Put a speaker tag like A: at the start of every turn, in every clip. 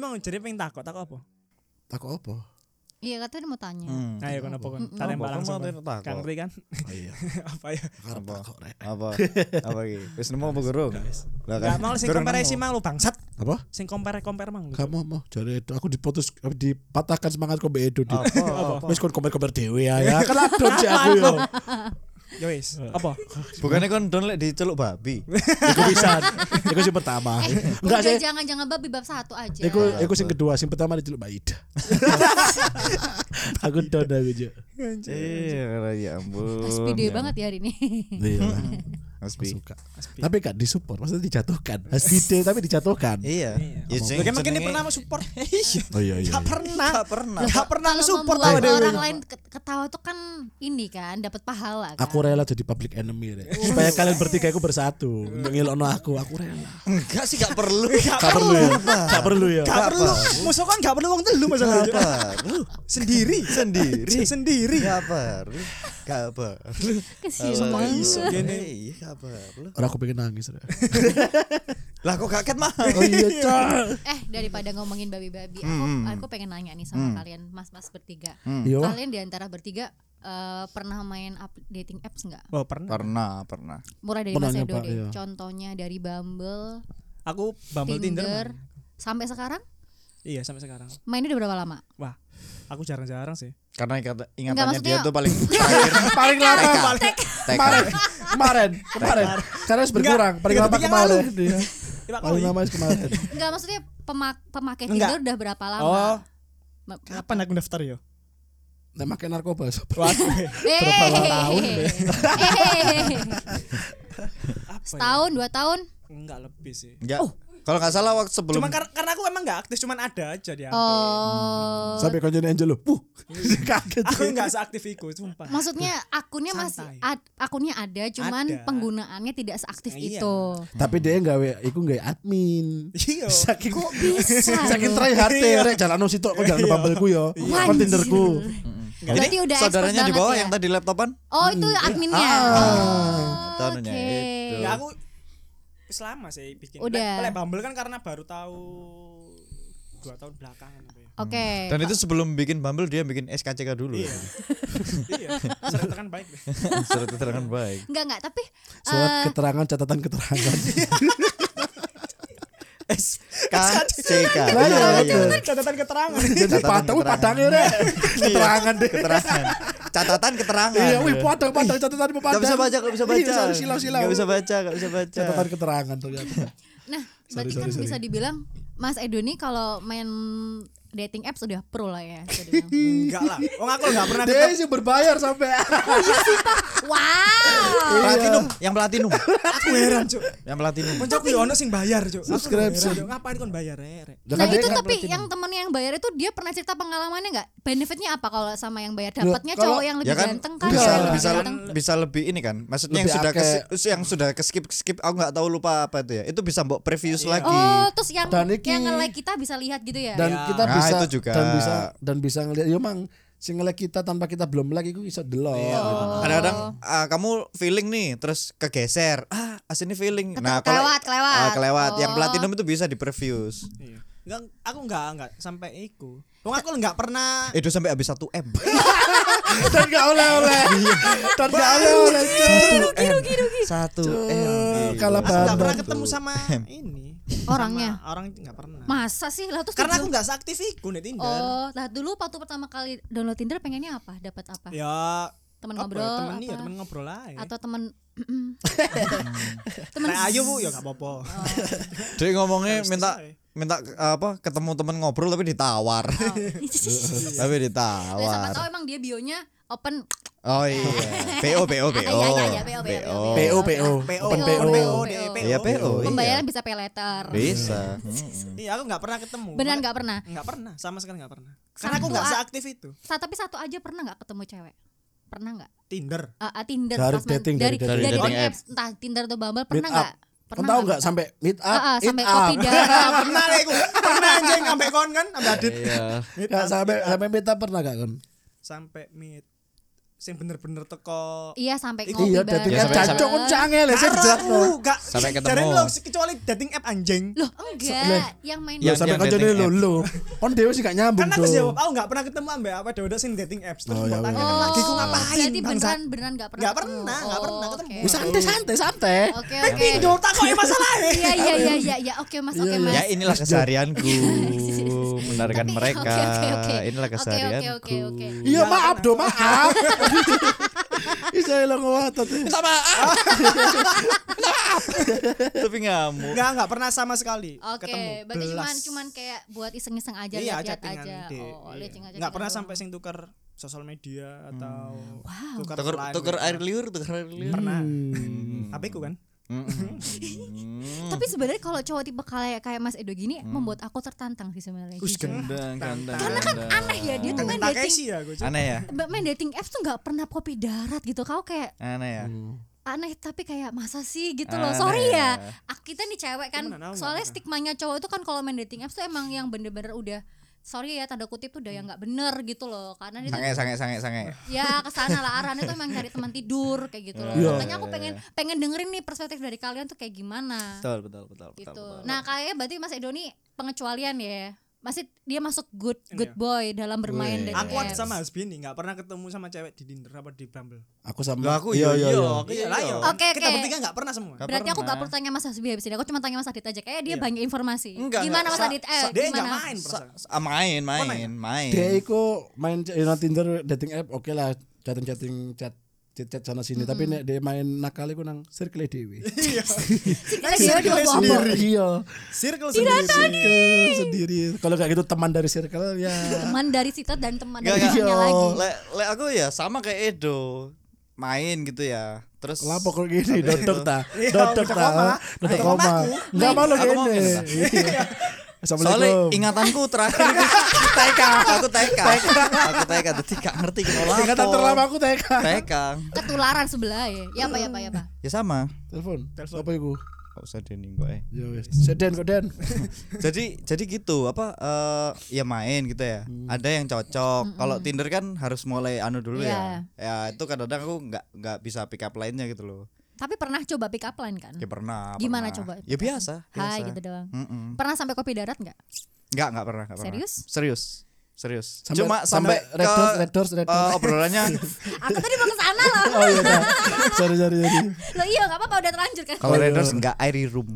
A: mau jadi pengen takut, takut apa?
B: Takut apa?
C: Iya katanya mau tanya.
A: Ayo
D: Hmm.
A: Nah, ya, kono apa kon?
C: Mm-mm.
A: Tak
D: Apa?
A: tembak
D: Kon
A: langsung.
D: mau
A: Kon.
D: takut?
A: Kan ngerti kan?
B: Oh iya,
A: Apa ya?
B: karep
D: Apa?
B: takut rek.
D: Apa? apa iki? Wis nemu apa gurung? Lah
A: Gak mau sing
D: gurung
A: komparasi
D: Eh, nemu.
A: mang lu bangsat.
B: Apa?
A: Sing compare compare mang lu.
B: Kamu mau jare Edo, aku diputus dipatahkan semangat kok Mbak Edo di.
D: Apa? apa?
B: Wis kon komer-komer dhewe ya. ya. Kan adon sih aku yo.
A: Ya wis.
C: Eh.
A: Apa?
D: Bukannya kon don lek diceluk babi.
B: Iku pisan. Iku sing pertama. Enggak sih.
C: Eh, Udah jangan jangan babi bab satu aja.
B: Iku iku sing kedua, sing pertama diceluk Mbak Ida. aku don aku jo.
D: Iya, ya ampun.
C: Mas pede banget ya hari ini.
B: Iya. lah. Aku
D: Aspi.
B: Suka. Tapi gak disupport, maksudnya dijatuhkan. Hasbide tapi dijatuhkan.
D: Iya. Ya sing
A: Bagaimana kini
D: jenenge-
A: pernah mau support? Iya.
B: Oh iya iya.
A: Gak
B: iya.
A: pernah.
D: Gak pernah.
A: Gak pernah
C: Kalau
A: support
C: membuat
A: awak dhewe.
C: orang lain ke- ketawa tuh kan ini kan dapat pahala kan.
B: Aku rela jadi public enemy rek. Supaya kalian bertiga itu bersatu untuk ngilokno aku, aku rela.
D: Enggak sih gak perlu.
B: Gak perlu ya. Gak perlu ya.
A: Gak perlu. Musuh kan gak perlu wong telu masalah.
D: Gak perlu.
A: Sendiri.
D: Sendiri.
A: Sendiri.
D: Gak perlu. Gak perlu.
A: Iya,
C: Kesian
D: Gak
C: banget.
D: perlu.
A: Gini.
D: Iya, gak perlu.
B: Orang aku pengen nangis rek.
D: Lah kok kaget mah?
B: Oh iya, Cak.
C: Eh daripada ngomongin babi-babi, aku aku pengen nanya nih sama kalian mas-mas bertiga.
B: Yo.
C: Kalian diantara bertiga eh, pernah main ap- dating apps nggak?
A: Oh pernah.
D: Pernah, pernah.
C: Murah dari
B: Pernah
C: Mas Edo
B: nyoba,
C: deh.
B: iya.
C: Contohnya dari Bumble,
A: Aku Bumble
C: Tinder,
A: Tinder. Mang.
C: sampai sekarang
A: Iya sampai sekarang.
C: mainnya udah berapa lama?
A: Wah, aku jarang-jarang sih.
D: Karena ingat- ingatannya dia
C: maksudnya-
D: tuh paling terakhir.
B: Paling lama.
D: TK.
B: Kemarin, kemarin, kemarin. Karena harus berkurang. Paling
A: tiga
B: lama
A: detik yang
B: kemarin. Iya.
A: Lima
B: Paling
A: kali.
B: lama harus kemarin.
C: Enggak maksudnya pemak pemakai
A: Enggak.
C: Tinder udah berapa lama?
A: Oh,
C: Ma-
A: kapan aku daftar ya? yo?
B: Nah, makan narkoba. sob.
C: Berapa
B: tahun deh?
C: Setahun, dua Eh. tahun?
A: ya? Enggak lebih sih.
D: Enggak.
B: Oh.
D: Kalau nggak salah waktu sebelum
A: Cuman kar- karena aku emang enggak aktif, cuman ada aja di HP.
C: Oh.
B: Sampai kau jadi Angelo. Puh. Kaget.
A: Aku enggak seaktif itu, sumpah.
C: Maksudnya akunnya masih
A: Santai.
C: ad- akunnya ada, cuman
A: Ada.
C: penggunaannya tidak seaktif
A: Iya.
C: itu.
B: Tapi dia gawe, iku gawe admin.
A: Iya.
B: Saking
C: Kok bisa?
B: saking try hard
A: Iya.
B: rek jalan no sitok kok jalan bambelku yo.
C: Wah,
B: Kon tinderku.
A: Jadi
C: Berarti udah expert
D: saudaranya di
C: banget
D: bawah
C: ya?
D: yang tadi laptopan.
C: Oh itu adminnya.
D: Ah,
C: Oh,
D: tahunnya
C: Oke.
D: itu.
A: Enggak Iya, aku wis lama sih bikin.
C: Udah.
A: Lek- lek Bumble kan karena baru tahu dua tahun belakangan apa ya.
C: Oke.
D: Dan itu sebelum bikin Bumble dia bikin SKCK dulu. ya.
A: Iya. iya. Sering tekan baik.
D: Surat keterangan baik.
C: Enggak enggak, tapi
B: Surat
C: eh,
B: keterangan catatan keterangan.
D: SKCK.
B: Lah, iya, betul.
C: kan-
A: Catatan keterangan.
B: Jadi
D: Catatan
B: padang wih,
D: keterangan.
B: padangnya rek. Keterangan deh.
D: Keterangan. Catatan keterangan.
B: Iya, wih padang padang catatan padang.
D: Gak bisa baca, gak bisa baca.
B: Iya, sorry, silau silau.
D: Gak bisa baca, gak bisa baca.
B: Catatan keterangan ternyata.
C: nah
B: Sorry, sorry,
C: berarti kan
B: sorry.
C: bisa dibilang Mas Edo nih kalau main dating apps udah pro lah ya. bisa dibilang.
A: Enggak lah. Wong aku enggak pernah
B: Dia sih berbayar sampai.
C: wow.
D: Platinum, yang platinum.
A: aku heran, Cuk.
D: Yang platinum.
A: Poncok kuwi ono sing bayar, Cuk. Aku
B: Subscription.
A: heran, Cuk. Ngapain kon bayar, Rek?
B: kan,
C: Nah itu tapi yang temennya yang bayar itu dia pernah cerita pengalamannya nggak? Benefitnya apa kalau sama yang bayar? Dapatnya
B: kalau-
C: cowok yang lebih
D: ya kan
C: ganteng kan?
D: bisa
C: cowok yang lebih
D: bisa
C: ganteng.
D: bisa lebih ini kan maksudnya yang
B: Lebih
D: sudah
B: akeh.
D: kes- yang sudah ke skip skip aku nggak tahu lupa apa itu ya itu bisa mbok previews lagi
C: Oh, terus yang
B: Dan iki-
C: yang nge-like kita bisa lihat gitu ya?
B: dan
A: Ya.
B: kita
D: Nah,
B: bisa
D: itu juga.
B: dan bisa dan bisa ngelihat yo mang sing nge-like kita tanpa kita belum like iku iso delok. Gitu.
C: Oh.
D: kadang-kadang ah, kamu feeling nih terus kegeser ah asini feeling nah
C: Ketel- kelewat, kelewat.
D: ah, kelewat yang
C: Oh.
D: platinum itu bisa di previews
A: Iya. Enggak, aku enggak enggak sampai iku. Wong aku enggak pernah
C: Ah.
D: itu sampai habis 1 m
B: dan gak oleh-oleh. dan gak oleh-oleh.
D: gitu. satu
B: Eh,
D: m
B: kalah
A: aku enggak
B: Bandung
A: pernah ketemu sama ini.
C: Orangnya?
A: Sama orang enggak pernah.
C: Masa sih lah terus
A: Karena aku
C: tujuh-
A: enggak seaktif iku nih Tinder.
C: Oh, lah dulu waktu pertama kali download Tinder pengennya apa? Dapat apa?
A: Ya
C: Teman
A: apa ya,
C: Ah. ngobrol
A: temen iya,
C: apa?
A: temen ngobrol aja.
C: Atau Oh. teman teman
A: Nah, ayo Bu, ya enggak apa-apa.
C: Oh.
D: jadi ngomongnya minta
B: eh.
A: selesai.
D: minta apa ketemu teman ngobrol tapi ditawar tapi
C: Nah, Oh. Iya, siapa tahu
D: ditawar
C: emang dia bionya open
D: oh iya po po po
C: Ah, iya, iya, iya, PO, PO.
B: PO PO
A: PO,
B: open
C: PO.
B: PO.
A: DE,
D: Iya, PO. Oh, iya.
C: pembayaran bisa pay letter.
D: bisa Mm-mm.
A: Iya, aku enggak pernah ketemu.
C: Beneran nggak pernah.
A: Enggak pernah, sama sekali enggak pernah. Karena
C: Satu
A: aku enggak
C: a-
A: seaktif itu.
C: Sa- tapi satu aja pernah nggak ketemu cewek? Pernah nggak?
A: Tinder.
C: Ah, ah, Tinder
B: Dari
C: main-
B: dating,
C: dari,
B: dari
C: dari,
D: dating.
C: dating
D: Dating
C: apps, entah Tinder atau Bumble
B: Meet
C: pernah
B: up.
C: nggak?
B: Kan
C: Pernah
B: tahu nggak sampai meet up,
C: Ah, ah,
B: eat
C: sampai
B: up.
C: kopi darat.
A: Ah, Pernah deh aku. Pernah anjing sampai kon kan, sampai Adit.
D: iya
B: Nggak, sampai sampai meet up pernah gak kan?
A: Sampai meet sing bener-bener teko
C: Iya sampai
A: Iya,
C: ngopi
B: Iya,
C: bareng.
B: dating app
E: Sampai-
B: cacok kan cangel ya, saya jejakno.
A: Karo, gak
E: Sampai ketemu.
A: jarang lo kecuali dating app anjing.
C: Loh enggak, yang main
B: Ya
E: Yang-
B: sampai
E: yang
B: kan jadi
E: dating
B: lo
E: app.
B: lo. Kon dewe sih gak nyambung
A: Kan aku jawab,
B: tuh.
A: aku gak pernah ketemu ambek apa dawudah sing dating apps. Terus
B: Oh,
A: mbok
B: ya
A: tanya
B: wes.
A: lagi ku ngapain? bangsat?
C: Berarti beneran beneran enggak pernah.
A: Nggak
C: ketemu. Oh,
A: pernah, nggak pernah ketemu.
C: oke.
B: Wih, santai santai santai.
C: Oke,
A: Iki
C: oke.
A: dol takoke masalahe.
C: Iya, iya, iya, iya, iya. Oke, Mas. Oke,
B: Iya, iya.
C: Mas.
D: Ya inilah keseharianku Benarkan
C: Tapi-
D: mereka
C: oke, oke, oke.
D: Inilah
C: Oke, oke,
D: keseharianku
C: oke, oke.
B: Iya maaf do maaf. Isa lo ngotot.
D: Tapi ngamuk
A: Enggak, enggak pernah sama sekali
C: Oke,
A: ketemu.
C: berarti
A: Belas.
C: cuman cuman kayak buat iseng-iseng aja
A: iya,
C: lihat-lihat
A: chattingan
C: aja.
A: deh.
C: Oh,
A: Iya.
C: lihat aja.
A: Nggak pernah sampai sing tuker sosial media atau
C: Wow.
A: tuker
D: Hmm. Tuker,
A: line
D: tuker
A: gitu.
D: air Hmm. liur Tuker air liur
A: pernah. Tapi ku kan
C: Tapi sebenarnya kalau cowok tipe kayak kayak Mas Edo gini
D: Hmm.
C: membuat aku tertantang sih sebenarnya.
D: Us
C: jujur.
D: gendang gendang
C: Karena kan
D: gendang.
C: aneh ya dia tuh
A: Kangen
C: main
A: Takeshi
C: dating
A: ya gue.
D: Aneh ya
C: Mbak, main dating apps tuh nggak pernah kopi darat gitu kau kayak
D: Aneh ya
C: aneh tapi kayak masa sih gitu
D: Aneh
C: loh sorry ya
D: ya.
C: ah, kita nih cewek kan
A: Gimana, Naul,
C: soalnya
A: gimana?
C: stigmanya cowok itu kan kalau main dating apps tuh emang yang bener-bener udah sorry ya tanda kutip tuh udah yang nggak bener gitu loh karena dia tuh
D: Sange sange sange sange
C: ya kesana lah arahnya tuh emang cari teman tidur kayak gitu loh
B: Iya.
C: makanya aku pengen pengen dengerin nih perspektif dari kalian tuh kayak gimana
D: Betul betul betul betul,
C: gitu
D: betul.
C: nah kayaknya berarti Mas Edo nih pengecualian ya masih dia masuk good good
A: Iya.
C: boy dalam bermain
B: Wih.
C: dating
A: Aku kan
C: apps.
A: sama Hasbini nggak pernah ketemu sama cewek di Tinder apa di Bumble.
B: Aku sama.
D: Lah, aku iya iya aku
A: Iya
D: iya
A: lah yo.
C: Oke,
A: Kita
C: oke.
A: bertiga nggak pernah semua.
D: Nggak
C: Berarti aku
D: pernah.
C: gak perlu tanya Mas Hasbi habis ini. Aku cuma tanya Mas Adit aja. Kayaknya
A: Iya.
C: dia banyak informasi.
D: Enggak,
C: gimana
D: enggak.
C: Mas Adit? Eh,
A: Dia nggak
C: gimana?
A: main perasaan.
D: Sa- sa- Ah, main main main
B: Dia iku main c- ya, Tinder dating app oke lah chatting chatting chat chat chat sana sini tapi nek dia main nakal iku nang circle dewe.
C: Circle
A: Circle
C: dia bawa apa?
A: sendiri.
B: Iya.
A: Circle sendiri.
B: Circle sendiri. Kalau kayak gitu teman dari circle ya.
C: Teman dari Sita dan teman
D: Gak,
C: dari
D: gak.
C: temannya Iya lagi.
D: Le, le aku ya sama kayak Edo main gitu ya terus
B: Lapo kok gini
D: Habis itu.
B: dodok ta.
A: Iya,
B: Dodok
A: udah
B: ta.
A: koma.
B: Dodok
A: Udah koma
B: koma.
A: aku.
B: Enggak mau lo
D: Aku mau
B: gini.
D: gitu,
B: Iya.
D: Soalnya
B: Assalamualaikum.
D: ingatanku terakhir itu TK, aku TK, aku TK, jadi gak ngerti kenapa.
B: Ingatan terlama aku TK.
D: TK,
C: Ketularan sebelah ya. Ya apa ya apa ya apa.
D: ya sama.
B: Telepon.
A: Telepon.
B: Apa iku?
D: Gak usah dening kok eh.
B: Ya wis. Seden kok Den.
D: Jadi jadi gitu apa eh, ya main gitu ya.
B: Hmm.
D: Ada yang cocok. Kalau Tinder kan harus mulai anu dulu
C: Iya.
D: ya. Ya itu kadang-kadang aku nggak nggak bisa pick up lainnya gitu loh.
C: Tapi pernah coba pick up line
B: Hmm.
C: kan?
D: Ya pernah.
C: Gimana
D: pernah.
C: coba?
D: Ya biasa.
C: Hai
D: biasa.
C: gitu doang.
D: Mm-mm.
C: Pernah sampai kopi darat nggak?
D: Nggak, nggak pernah, nggak pernah.
C: Serius?
D: Serius. Serius.
B: Sampai-
D: Cuma sampai,
B: sampai red
D: ke,
B: doors, red doors, red
D: eh,
B: doors.
D: obrolannya
C: Aku tadi mau kesana loh.
B: Oh iya. dah. Sorry sorry sorry.
C: Loh iya nggak apa-apa udah terlanjur kan.
D: kalau
B: Aduh.
D: red doors nggak airy room.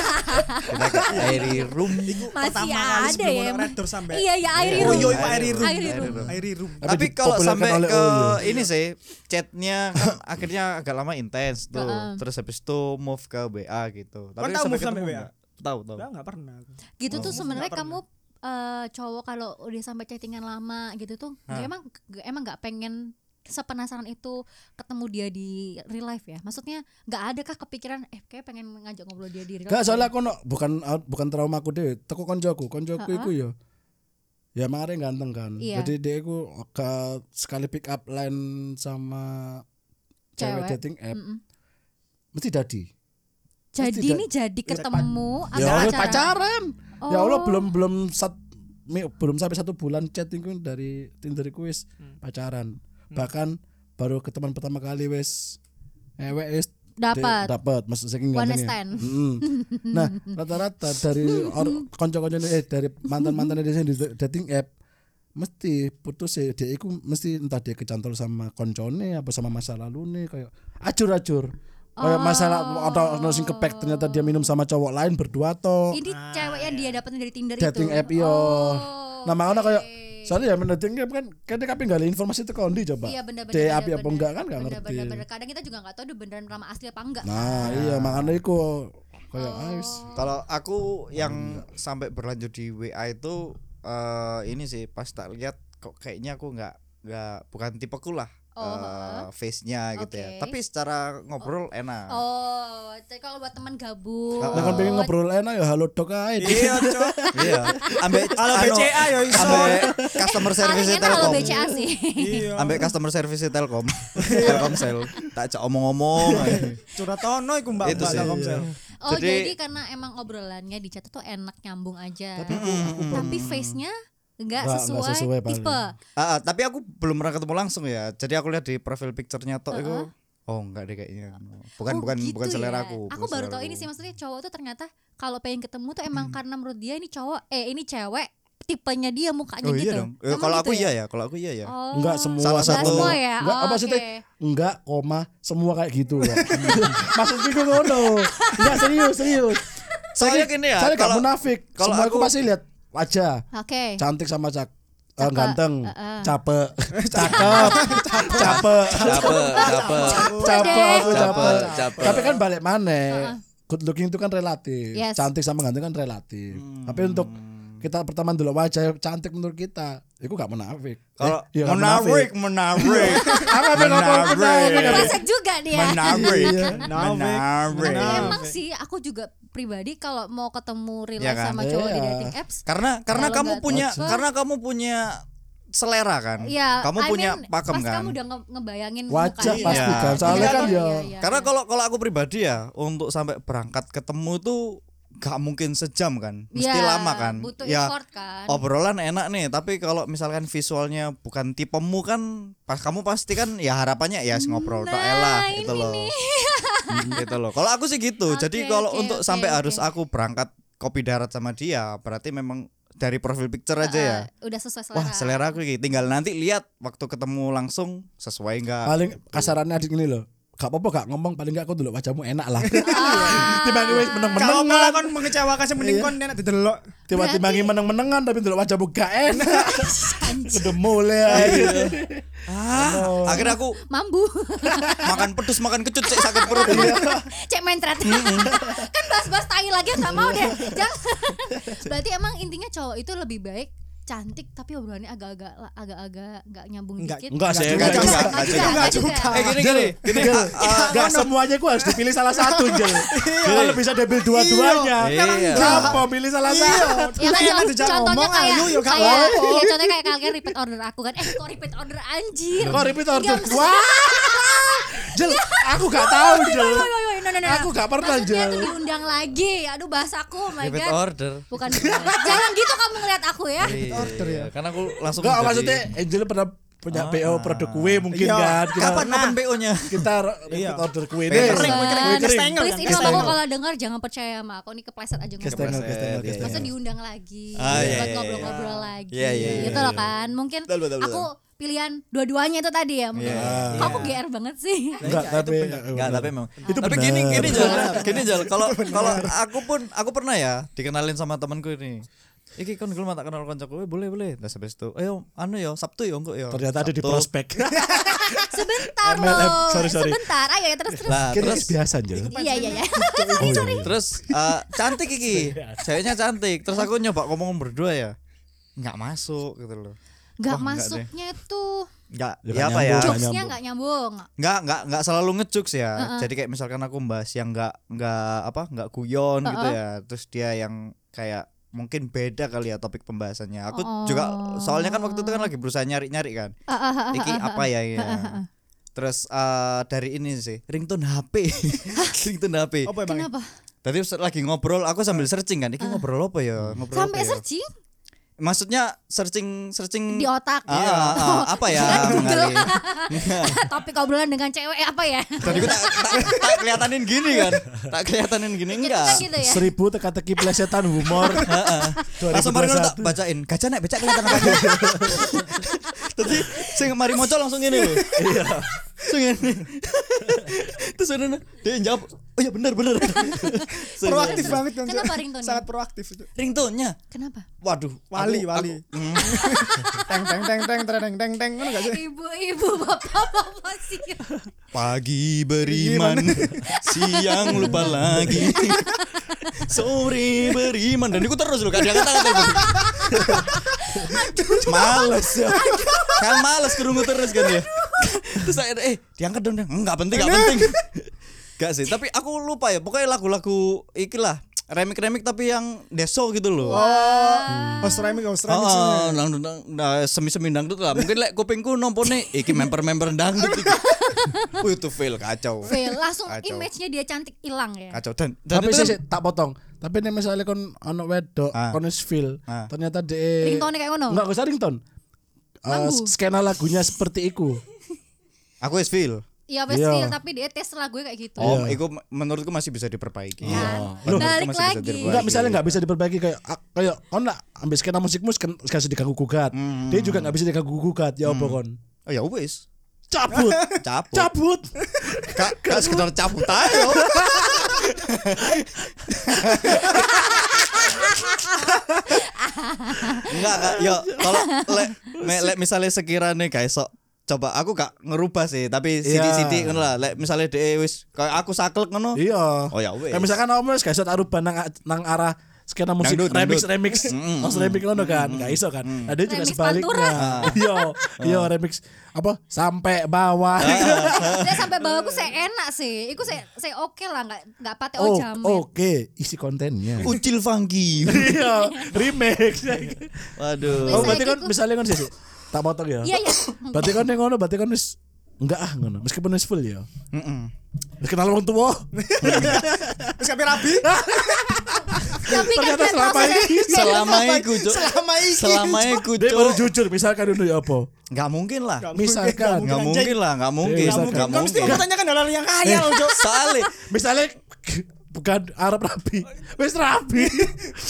D: Kita ke airy room.
C: Masih
A: pertama kali
C: ada
A: sebelum
C: ya.
A: orang
C: Ma-
A: red door sampai-
C: Iya iya air
A: Oh iya,
C: room.
A: itu Airy Room.
C: Airy room.
A: Airy room.
B: Tapi
D: Tapi kalau
B: dipopulerkan
D: sampai
B: oleh
D: ke
B: Oyo.
D: ini sih chatnya kan akhirnya agak lama intens tuh.
C: Heeh.
D: Terus habis itu move ke WA gitu.
A: Kan tahu move sampai
D: ketemu
A: WA?
D: nggak? Tahu tahu.
A: Enggak, enggak pernah. aku.
C: Gitu tuh
A: Oh,
C: sebenarnya
A: nggak pernah.
C: kamu eh, cowok kalau udah sampai chattingan lama gitu tuh nggak- emang nggak- emang nggak pengen sepenasaran itu ketemu dia di real life ya maksudnya nggak ada kah kepikiran eh kayak pengen ngajak ngobrol dia di real
B: Gak
C: life
B: soalnya aku no, bukan uh, bukan trauma aku deh. Teko konjoku, konjoku iku yo. Ya mare ganteng kan.
C: Iya.
B: Jadi dia iku ke sekali pick up line sama cewek,
C: Cewek.
B: dating app
C: Mm-mm.
B: mesti dadi.
C: jadi
B: tidak-
C: ini jadi ketemu
B: Ya
C: atau
B: Allah
C: acara?
B: pacaran.
C: Oh.
B: Ya Allah belum belum sat, mi- belum sampai satu bulan chatting ku dari Tinder ku wis pacaran. Bahkan baru ke teman pertama kali wis ewek wis
C: Dapat.
B: de- dapat maksud saya ini
C: One
B: gantengnya.
C: stand.
B: Mm-mm. nah rata-rata dari or- konco-konco eh dari mantan-mantan dia di dating app mesti putus ya dia iku mesti entah dia kecantol sama koncone apa sama masa lalu nih kayak acur-acur kayak
C: Oh.
B: masalah atau nosing kepek ternyata dia minum sama cowok lain berdua toh
C: ini
A: Ah,
C: cewek yang
A: iya.
C: dia dapetin dari Tinder
B: dating
C: itu
B: app yo.
C: Oh,
B: nah makanya kayak
C: oke.
B: soalnya ya men dating app kan kayaknya tapi nggak ada informasi itu kondi coba.
C: Iya benar-benar.
B: Di api apa enggak kan nggak ngerti.
C: Benar-benar. Kadang kita juga nggak tahu dia beneran ramah asli apa enggak.
B: Nah iya makanya itu kayak
C: Oh.
B: ah, ais.
D: Kalau aku yang sampai berlanjut di WA itu eh, ini sih pas tak lihat kok kayaknya aku nggak nggak bukan tipeku lah
C: Oh,
D: eh,
C: heeh.
D: face-nya gitu ya.
C: Oke.
D: Tapi secara ngobrol enak.
C: Oh, tapi kalau buat teman gabut.
B: Nah kan pengen ngobrol enak ya halo dok aja.
A: Iya, Cok.
D: Iya. Ambek
A: Halo
D: anu,
A: BCA ya iso.
D: ambek customer service
C: Paling enak kan kalau
D: Telkom.
C: BCA sih.
A: Iya.
D: Ambek customer service Telkom. Telkomsel. Tak cak omong-omong.
A: Curhat ono iku Mbak
D: Itu
A: Mbak
D: sih.
A: Telkomsel.
C: Oh, jadi,
D: Jadi-
C: karena emang obrolannya di chat tuh enak nyambung aja. Tapi, face-nya nggak
B: uh, Nggak- nggak
C: sesuai,
B: sesuai paling.
C: tipe
D: Ah, ah, tapi aku belum pernah ketemu langsung ya. Jadi aku lihat di profil picture-nya tok itu. Oh, enggak deh kayaknya.
C: Oh,
D: Bukan bukan
C: gitu
D: bukan selera
C: ya.
D: aku.
C: Aku
D: bukan
C: baru
D: selera
C: tahu ini
D: aku. Oh,
C: sih maksudnya cowok tuh ternyata kalau pengen ketemu tuh emang
B: Mm.
C: karena menurut dia ini cowok eh ini cewek tipenya dia mukanya
D: Oh
C: gitu.
D: iya dong. Eh,
C: Emang
D: kalau
C: gitu
D: aku iya ya, kalau aku iya ya.
C: Oh.
B: Enggak semua
D: Salah
C: Nggak
D: satu-
C: semua ya.
B: Enggak
C: Oh,
B: apa sih Teh?
C: oke.
B: Enggak, koma, semua kayak gitu loh. Maksudku gue ngono. Enggak serius, serius.
D: Soalnya gini ya,
B: Saya enggak
D: kalau-
B: munafik.
D: kalau
B: semua aku
D: aku-
B: pasti lihat wajah,
C: Oke.
B: cantik sama cak eh,
C: Cakep,
B: ganteng,
C: eh.
B: capek, cakep, capek,
E: Capek, capek,
B: capek, aku
E: capek,
B: capek.
E: capek.
B: Tapi kan balik mana? Good looking itu kan relatif.
C: Yes.
B: Cantik sama ganteng kan relatif. Tapi untuk kita pertama dulu wajah cantik menurut kita, itu gak munafik.
D: Kalau
B: Eh, iya, nggak
D: menarik, menarik.
B: Apa yang ngomong menarik?
C: Kresek juga dia.
D: Menarik.
C: Iya.
A: Menarik.
C: Ya,
D: Menarik.
C: emang sih aku juga pribadi kalau mau ketemu real
D: Ya
C: life
D: kan?
C: sama cowok di
B: Iya.
C: dating apps
D: Karena karena
C: Kalau
D: kamu
C: nggak
D: punya
C: cocok.
D: karena kamu punya selera kan.
C: ya
D: kamu
C: I
D: punya
C: mean,
D: pakem
C: pas
D: kan.
C: kamu udah nge- ngebayangin
B: Wajah
C: mukanya.
B: pasti
D: Iya.
B: kan. Soalnya
C: Iya,
B: kan
C: iya,
B: ya.
C: iya,
D: Karena
C: iya.
D: kalau kalau aku pribadi ya untuk sampai berangkat ketemu tuh gak mungkin sejam kan, mesti
C: Iya,
D: lama kan.
C: Butuh
D: ya
C: effort kan.
D: obrolan enak nih, tapi kalau misalkan visualnya bukan tipemu kan, pas kamu pasti kan ya harapannya ya ngobrol tak elah
C: Nah, ini
D: itu loh. gitu loh. Kalau aku sih gitu.
C: Oke,
D: Jadi kalau
C: oke,
D: untuk
C: oke,
D: sampai
C: oke.
D: harus aku berangkat kopi darat sama dia, berarti memang dari profil picture aja ya.
C: Eh, udah sesuai selera.
D: Wah, selera aku iki. tinggal nanti lihat waktu ketemu langsung sesuai enggak.
B: paling kasarannya adik ini loh gak apa-apa gak ngomong paling gak aku dulu wajahmu enak lah tiba-tiba
A: Kalau
B: wis meneng-menengan
A: malah kon mengecewakan sing mending kon enak didelok.
B: tiba-tiba ngi
C: Berarti-
B: meneng-menengan tapi dulu wajahmu gak enak udah mulai
D: Ah, akhirnya aku
C: Mambu.
D: makan pedus makan kecut cek sakit perut.
B: Iya.
E: Iya.
C: Cek mentret. kan bahas-bahas tai lagi nggak mau deh. Jangan. Berarti emang intinya cowok itu lebih baik cantik tapi obrolannya agak-agak agak-agak nggak nyambung
A: Enggak.
C: dikit.
B: enggak sih
D: Enggak
B: enggak
D: juga,
B: juga
D: enggak
C: juga, enggak juga.
D: Eh gini gini, gini.
B: Jel,
D: ah, ah, Iya.
B: gak semuanya aku harus dipilih salah satu Jel kalau bisa diambil dua-duanya
E: Iya. Iya.
B: kenapa pilih salah
D: Iya.
B: satu
C: Ya kan,
A: Enak
C: con-
A: dijak
C: contohnya
A: ngomong,
C: kayak
A: ayu, ya gak
C: kayak
A: apa-apa.
C: iya, contohnya kayak kalian repeat order aku kan. Eh kok repeat order anjir.
B: kok repeat order
C: Enggak,
B: wah Jel aku gak
D: Iya.
B: tahu Jel
C: Woi, woi, woi, no, no, no, no.
B: Aku gak pernah,
C: Maksudnya
B: Jel.
C: tuh diundang lagi. Aduh bahasaku, oh my
D: Iya kan?
E: Repeat
C: god.
E: order. Iya,
C: Bukan. Jangan gitu kamu ngeliat aku ya.
A: order ya.
E: Karena aku langsung
B: Enggak
E: jadi-
B: maksudnya Angel pernah punya PO produk kue mungkin
A: Iya.
B: kan kita
D: Kapan kapan BO-nya?
B: kita repeat
A: Iya.
B: order kue deh
D: Kering, kering,
A: kering,
C: Please,
A: kestengel
C: Please
A: kan,
C: ini mamaku
A: kestengel.
C: kalau dengar jangan percaya sama aku ini kepleset aja ngomong.
B: Kestengel, kestengel,
E: Iya,
C: Maksudnya
B: kestengel.
C: diundang lagi
D: Ah, iya,
C: buat
D: iya,
C: ngobrol-ngobrol lagi.
E: Iya, iya,
C: gitu loh kan. Mungkin
D: Betul, betul, betul. Iya.
C: aku pilihan dua-duanya itu tadi ya.
E: Iya.
C: Mungkin. Kok aku GR banget sih?
E: Nah,
B: Enggak, Ah. tapi
E: Enggak, tapi memang.
B: Itu
E: tapi
B: benar.
E: gini gini Jal, gini Jal, kalau kalau aku pun aku pernah ya dikenalin sama temanku ini. Iki kan gue tak kenal kancaku, "Eh, boleh boleh. Terus habis itu, ayo anu yo, Sabtu yo engko yo.
B: Ah, ternyata ada di
E: Sabtu.
B: prospek.
C: Sebentar
B: MLM,
C: loh.
B: sorry, sorry.
C: Sebentar. Ayo ya terus terus.
E: Lah,
B: Kira
E: Nah, terus
B: biasa aja.
C: Iya iya iya.
B: Oh, iya.
E: Terus eh, cantik iki, ceweknya cantik. Terus aku nyoba ngomong berdua ya, nggak masuk gitu loh.
C: Gak
E: Wah, enggak
C: masuknya tuh
D: Enggak,
B: Ya,
D: ya
B: kan
D: apa ya?
B: nyambung.
C: jokesnya
B: nyambung.
C: gak nyambung.
D: Enggak, enggak, enggak selalu ngejux ya. Jadi kayak misalkan aku bahas yang enggak enggak apa? enggak guyon gitu ya. Terus dia yang kayak mungkin beda kali ya topik pembahasannya. Aku juga soalnya kan waktu itu kan lagi berusaha nyari-nyari kan.
C: Ah,
D: Iki apa ya ya. Terus eh, dari ini sih, ringtone HP. ringtone HP.
A: Apa emang?
C: Kenapa?
D: Tadi lagi ngobrol, aku sambil searching kan. Iki ngobrol apa ya? Ngobrol
C: Ah. Sampai
D: apa ya?
C: searching
D: Maksudnya searching searching
C: di otak.
D: Ah, ah, ah, apa ya?
C: Google.
D: Mengalir.
C: Topik obrolan dengan cewek apa ya?
D: Tadi gue tak, tak, tak kelihatanin gini kan Tak kelihatanin
C: Kan
D: gini enggak
C: gitu ya.
B: Seribu teka-teki plesetan humor.
D: Langsung mari ngono tak
B: 2021.
D: bacain Gajah nek becak kelihatan apa Tadi sing mari moco langsung gini loh Iya Langsung gini Terus ini dia yang jawab Oh iya bener bener
A: Proaktif banget kan.
C: Kenapa
A: Cuk.
C: ringtone-nya?
A: Sangat proaktif itu.
D: Ringtone-nya
C: Kenapa?
D: Waduh aku-
A: Wali,
D: aku-
A: wali. Teng teng teng teng teng teng teng ngono
C: Eh.
A: gak sih?
C: Ibu-ibu bapak-bapak sih.
D: Pagi beriman, siang lupa lagi, sore beriman dan itu terus loh kadang kata kata gitu. Males ya, kan males kerungu terus kan ya. Terus saya eh diangkat dong, dong. enggak penting enggak penting. Enggak sih, tapi aku lupa ya pokoknya lagu-lagu ikilah remik-remik tapi yang deso gitu loh.
A: Host remix, host
D: Oh,
A: remix.
D: oh, dangdut dang- nah, semi-semi dangdut lah. Mungkin lek kupingku nompone iki member-member dangdut iki. Wih, itu fail kacau.
C: Fail, langsung
D: Kacau.
C: image-nya dia cantik hilang ya.
D: Kacau dan dan
B: Tapi
D: itu
B: sih
D: kan-
B: sih, tak potong. Tapi nek misalnya kon ono wedok,
D: Ah.
B: kon wis feel,
D: Ah.
B: ternyata de
C: Ringtone kayak ngono.
B: Enggak usah ringtone. Eh,
C: Lagu.
B: skena lagunya seperti iku.
D: aku is fail.
C: Iya wes
B: Iya.
C: fail tapi dia tes lagu kayak gitu.
D: Oh, itu menurutku masih bisa diperbaiki.
C: Kan?
D: Menurutku
C: Balik
D: masih bisa
C: lagi.
D: diperbaiki.
B: Enggak misalnya
D: iya.
B: enggak bisa diperbaiki kayak ah, kayak kon lah ambil skena musikmu sk- sekali diganggu gugat.
D: Hmm.
B: Dia juga enggak bisa diganggu gugat. Ya apa kon?
D: Oh ya wis.
B: Cabut.
D: Cabut.
B: Cabut.
D: Kak, kak sekedar cabut aja. Enggak kak, yo kalau lek me- lek misalnya sekiranya guys sok coba aku gak ngerubah sih
B: Iya.
D: tapi sidi-sidi ngono lah lek misalnya dhewe wis kayak aku saklek ngono
B: Iya.
D: Oh, ya wes.
B: Kayak misalkan kamu wis gak aruban nang nang arah skena musik
D: Dangdut,
B: remix
D: dangdut.
B: remix host remix ngono kan gak iso kan nah dia juga
C: Remix
B: sebaliknya
D: Ah.
B: iya iya remix apa sampai bawah
D: Ah.
C: Dan sampai bawahku saya enak sih. Iku saya saya oke lah nggak nggak pate oh,
B: oh
C: jamin.
B: oke isi kontennya
D: ucil funky
B: iya remix
D: Iya. waduh
B: oh
C: Wis
B: berarti
C: saiki
B: kan
C: ku-
B: misalnya kan sih tak potong ya
C: Iya iya.
B: berarti kan yang ngono berarti kan wis enggak ah ngono meskipun wis full ya
D: Mm-mm.
B: Wis kenal wong tua
A: Terus kami rabi.
C: Tapi kan
B: ternyata
C: dia
B: selama
C: prosesnya-
B: ini
D: selama iku cuk
A: Selama ini.
D: selama iku
B: dia baru
D: cuk
B: jujur misalkan dulu ya apa
D: nggak mungkin lah
A: Nggak mungkin, nggak
B: Misalkan.
D: nggak
A: anjing.
D: mungkin Eh, lah nggak mungkin
B: Nggak mungkin.
D: nggak
A: Kamu mesti
D: mungkin
A: mempertanyakan hal-hal kan, yang kaya loh, Cok.
D: soalnya
B: misalnya bukan Arab Rabi wis Rabi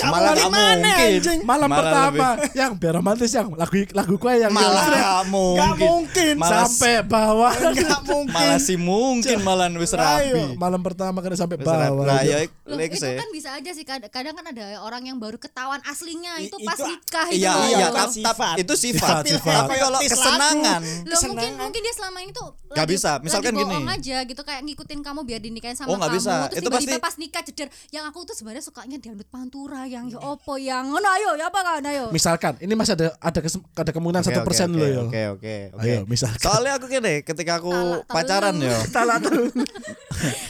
D: malah nggak
A: Gimana,
D: mungkin
A: anjing?
B: malam
D: Malah
B: pertama
D: lebih-
B: yang biar romantis yang lagu lagu kue yang
D: malah nggak
A: Nggak
D: mungkin
A: mungkin.
D: Malah
B: sampai bawah
A: Nggak mungkin.
D: malah sih mungkin malah wis rapi
B: malam pertama kena sampai
D: Wis rapi.
B: bawah
D: Nah, ya
C: Loh,
D: lek
C: itu
D: sih.
C: kan bisa aja sih kadang, kadang kan ada orang yang baru ketahuan aslinya
A: I-
C: itu pas
A: itu-
C: nikah itu
D: Iya,
C: loh.
D: iya,
A: kan
D: tapi
A: sifat.
D: itu sifat.
B: Sifat, sifat.
D: Tapi kalau
A: Kayak
D: kesenangan,
C: Loh, mungkin
A: kesenangan.
C: mungkin dia selama ini tuh
D: Nggak
C: lagi-
D: bisa. Misalkan
C: lagi bohong
D: gini.
C: aja gitu kayak ngikutin kamu biar dinikahin sama
D: Oh, nggak
C: kamu
D: bisa.
C: terus
D: Itu
C: tiba-tiba
D: pasti-
C: pas nikah jeder yang aku tuh sebenarnya sukanya dangdut pantura yang
A: Iya.
C: ya opo yang ngono ayo ya apa kan ayo
B: misalkan ini masih ada ada kesem- ada kemungkinan
D: Oke,
B: satu
D: oke,
B: persen
D: oke,
B: loh ya
D: Oke, oke, oke.
B: Ayo, misalkan.
D: Soalnya aku kene ketika aku
C: Talak telu.
D: pacaran ya.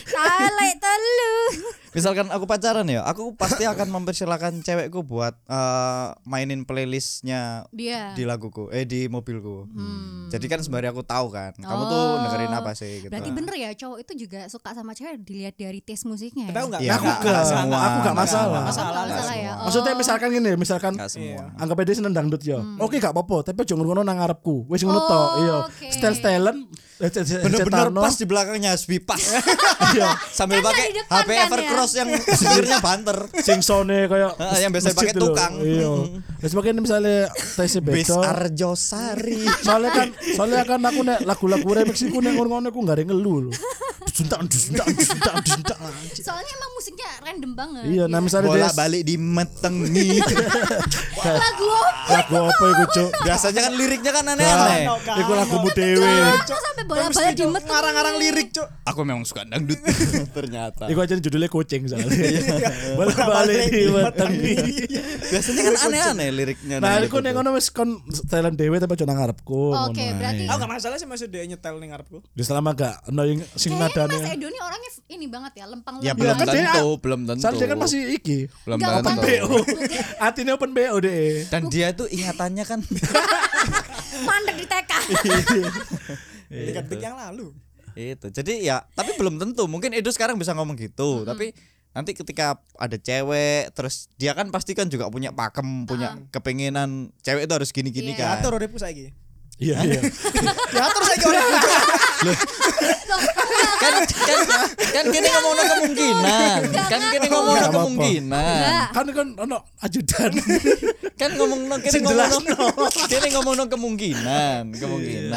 C: talek telu
D: Misalkan aku pacaran ya, aku pasti akan mempersilahkan cewekku buat eh, mainin playlistnya
C: dia
D: di laguku, eh di mobilku. Jadi kan sembari aku tahu kan, kamu tuh
C: Hmm. Oh.
D: dengerin apa sih gitu.
C: berarti bener ya cowok itu juga suka sama cewek dilihat dari taste musiknya ya?
A: Tahu nggak?
D: Iya,
A: Aku
D: nggak-
A: nggak
D: nggak
A: sana.
D: semua.
B: aku gak masalah.
C: Oh,
A: Masalah.
C: nggak masalah ya oh.
B: maksudnya misalkan gini misalkan Iya.
D: Enggak semua.
B: anggap aja dia seneng dangdut ya oke gak apa-apa tapi jangan ngono nang ngarepku wis ngono
C: Hmm. Oh,
B: tok iya eh,
C: oke.
B: style stylean
D: Bener-bener pas di belakangnya Hasbi pas.
B: iya
D: Sambil
C: Kan nggak
D: pakai
C: di depan
D: HP
C: kan ya?
D: Evercross yang setirnya banter.
B: sing sone kayak
D: Ah, yang biasa
B: masjid
D: pakai
B: lho.
D: tukang.
B: iya wis pakai misalnya tes
D: Bis
B: beda
D: Arjosari.
B: soalnya kan soalnya kan aku nek lagu-lagu remix iku nek ngono-ngono aku gak ada yang ngeluh lho. Duntak duntak duntak duntak.
C: soalnya emang musiknya random banget gitu.
B: Iya, nah misalnya
D: Bola
B: dia
D: balik di metengi.
C: lagu apa
B: lagu apa iku cuk?
D: Biasanya kan liriknya kan
A: Aneh.
C: Nah.
D: aneh-aneh.
B: Iku lagumu
A: Iya.
B: dhewe.
C: Aku Iya, sampai bola balik di metu
A: Ngarang-ngarang lirik, Cok.
D: Aku memang suka dangdut ternyata.
C: Iya.
B: Iku aja judulnya kucing
D: Iya.
B: soalnya. iya, Balik balik di wetengi.
D: Biasanya kan aneh-aneh liriknya.
B: Nah,
D: Nah,
B: iku nek ngono wis kon Thailand dhewe tapi aja nang ngarepku.
C: Oke,
B: ngono Nah, ae.
C: berarti-
A: Oh, Aku nggak masalah sih maksud dia nyetel nih ngarepku.
B: Di selama gak annoying sing
C: Kayaknya Mas
B: nadane.
C: Edo ini orangnya f- ini banget ya, lempeng
D: ya
B: Iya,
D: belum
B: kan dia-
D: tentu, belum tentu.
B: Soalnya dia kan masih iki.
D: belum
C: Nggak,
D: tentu.
C: open
B: BO. Atine open BO deh.
D: Dan dia tuh ingatannya kan
A: Iya.
C: mandek di TK.
A: Tiga detik yang lalu.
D: itu. Jadi ya, tapi belum tentu. Mungkin Edo sekarang bisa ngomong gitu, tapi nanti ketika ada cewek terus dia kan pasti kan juga punya pakem, punya kepenginan cewek itu harus gini-gini
C: Iya.
D: kan.
A: Atur uripku saiki.
B: Iya, iya.
A: Diatur saiki uripku.
D: kan kan kan kini ngomong kemungkinan kan kini ngomong
B: Nggak apa-apa.
D: kemungkinan
B: Kan kan ono ajudan.
D: kan ngomong kini
B: Sing
D: ngomong
B: jelas,
D: kini ngomong kemungkinan kemungkinan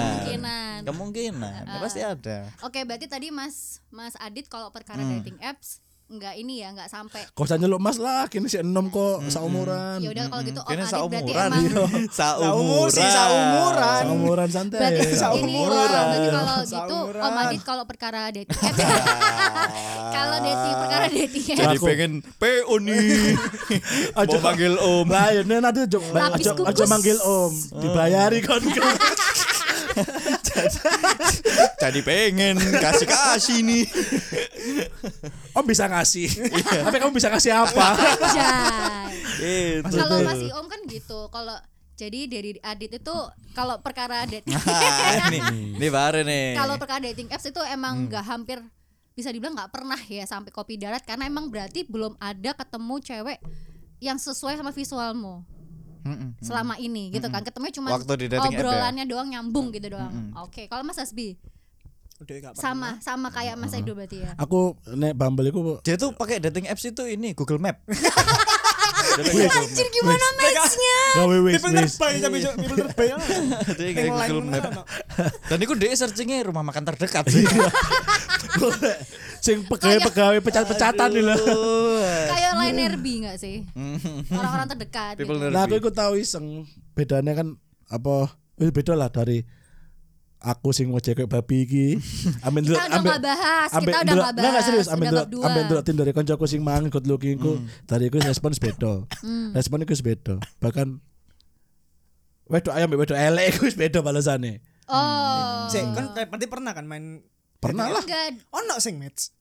C: Kemungkinan.
D: kemungkinan ya, pasti ada
C: Oke, berarti tadi Mas Mas Adit kalau perkara
A: Hmm.
C: dating apps nggak ini ya, nggak sampai.
B: Kosannya lu mas lah, kini si enom kok Kan, saumuran.
A: Hmm.
C: Ya udah kalau gitu Om
D: kini
C: Adit berarti
D: saumuran
C: emang
A: Iya.
C: kan.
D: saumuran
A: sih, saumuran.
B: Saumuran santai.
C: berarti ini oh,
A: Iya, Saumuran.
C: berarti kalau gitu Om
A: Saumuran.
C: Adit kalau perkara dating apps kalau dating perkara dating apps
D: jadi pengen PO nih mau panggil om
B: Lah ya nek nanti aja
C: Lapis
B: aja
C: kukus.
B: kan, aja manggil om, dibayari kon.
E: Jadi pengen kasih-kasih nih.
B: Om bisa ngasih. Tapi kamu bisa ngasih apa?
E: Gitu.
C: Anjay.
E: Itu.
C: kalau masih om kan gitu kalau jadi dari adit itu kalau perkara dating
E: Ah, nih, nih baru nih.
C: kalau perkara dating apps itu
E: Hmm.
C: emang nggak hampir bisa dibilang nggak pernah ya sampai kopi darat karena emang berarti belum ada ketemu cewek yang sesuai sama visualmu
E: Mm-mm.
C: selama ini gitu kan ketemunya cuma
E: Hmm. Waktu di dating app ya? Hmm.
C: obrolannya doang nyambung gitu doang oke kalau mas Hasbi
A: Udah gak
C: sama sama kayak mas Edo
E: Hmm.
C: berarti ya
B: Aku nek Bumble iku
E: Dia tuh pakai dating apps itu ini Google Map. Iya,
C: anjir gimana matchnya
B: gawe wis
A: People
B: wis.
A: terbaik tapi Jo, people terbaik.
E: Dia
A: Yang
E: kayak
A: lain
E: Google
A: mana
E: Map.
A: ada?
E: Dan itu dia searchingnya rumah makan terdekat sih.
B: Sing pegawai-pegawai pecat-pecatan nih lho.
C: kayak lain nerbi nggak sih orang-orang terdekat
E: Hmm. People
C: gitu.
E: nerdy.
B: Nah, aku ikut tahu iseng. Bedanya kan apa? Eh, beda lah dari aku sing mau cekek babi iki. Amin
C: kita udah nggak bahas kita udah nggak bahas
B: Enggak serius, amin
C: udah Hmm.
B: delok
C: berdua.
B: amin delok tim dari koncoku sing mangan good looking ku. Dari iku respons beda.
C: Hmm.
B: Respon iku wis beda. Bahkan wedok ayam wedok elek iku wis beda balasane.
C: oh
A: Sik, kan eh, berarti pernah kan main
B: Pernah lah.
C: enggak
A: ono sing match.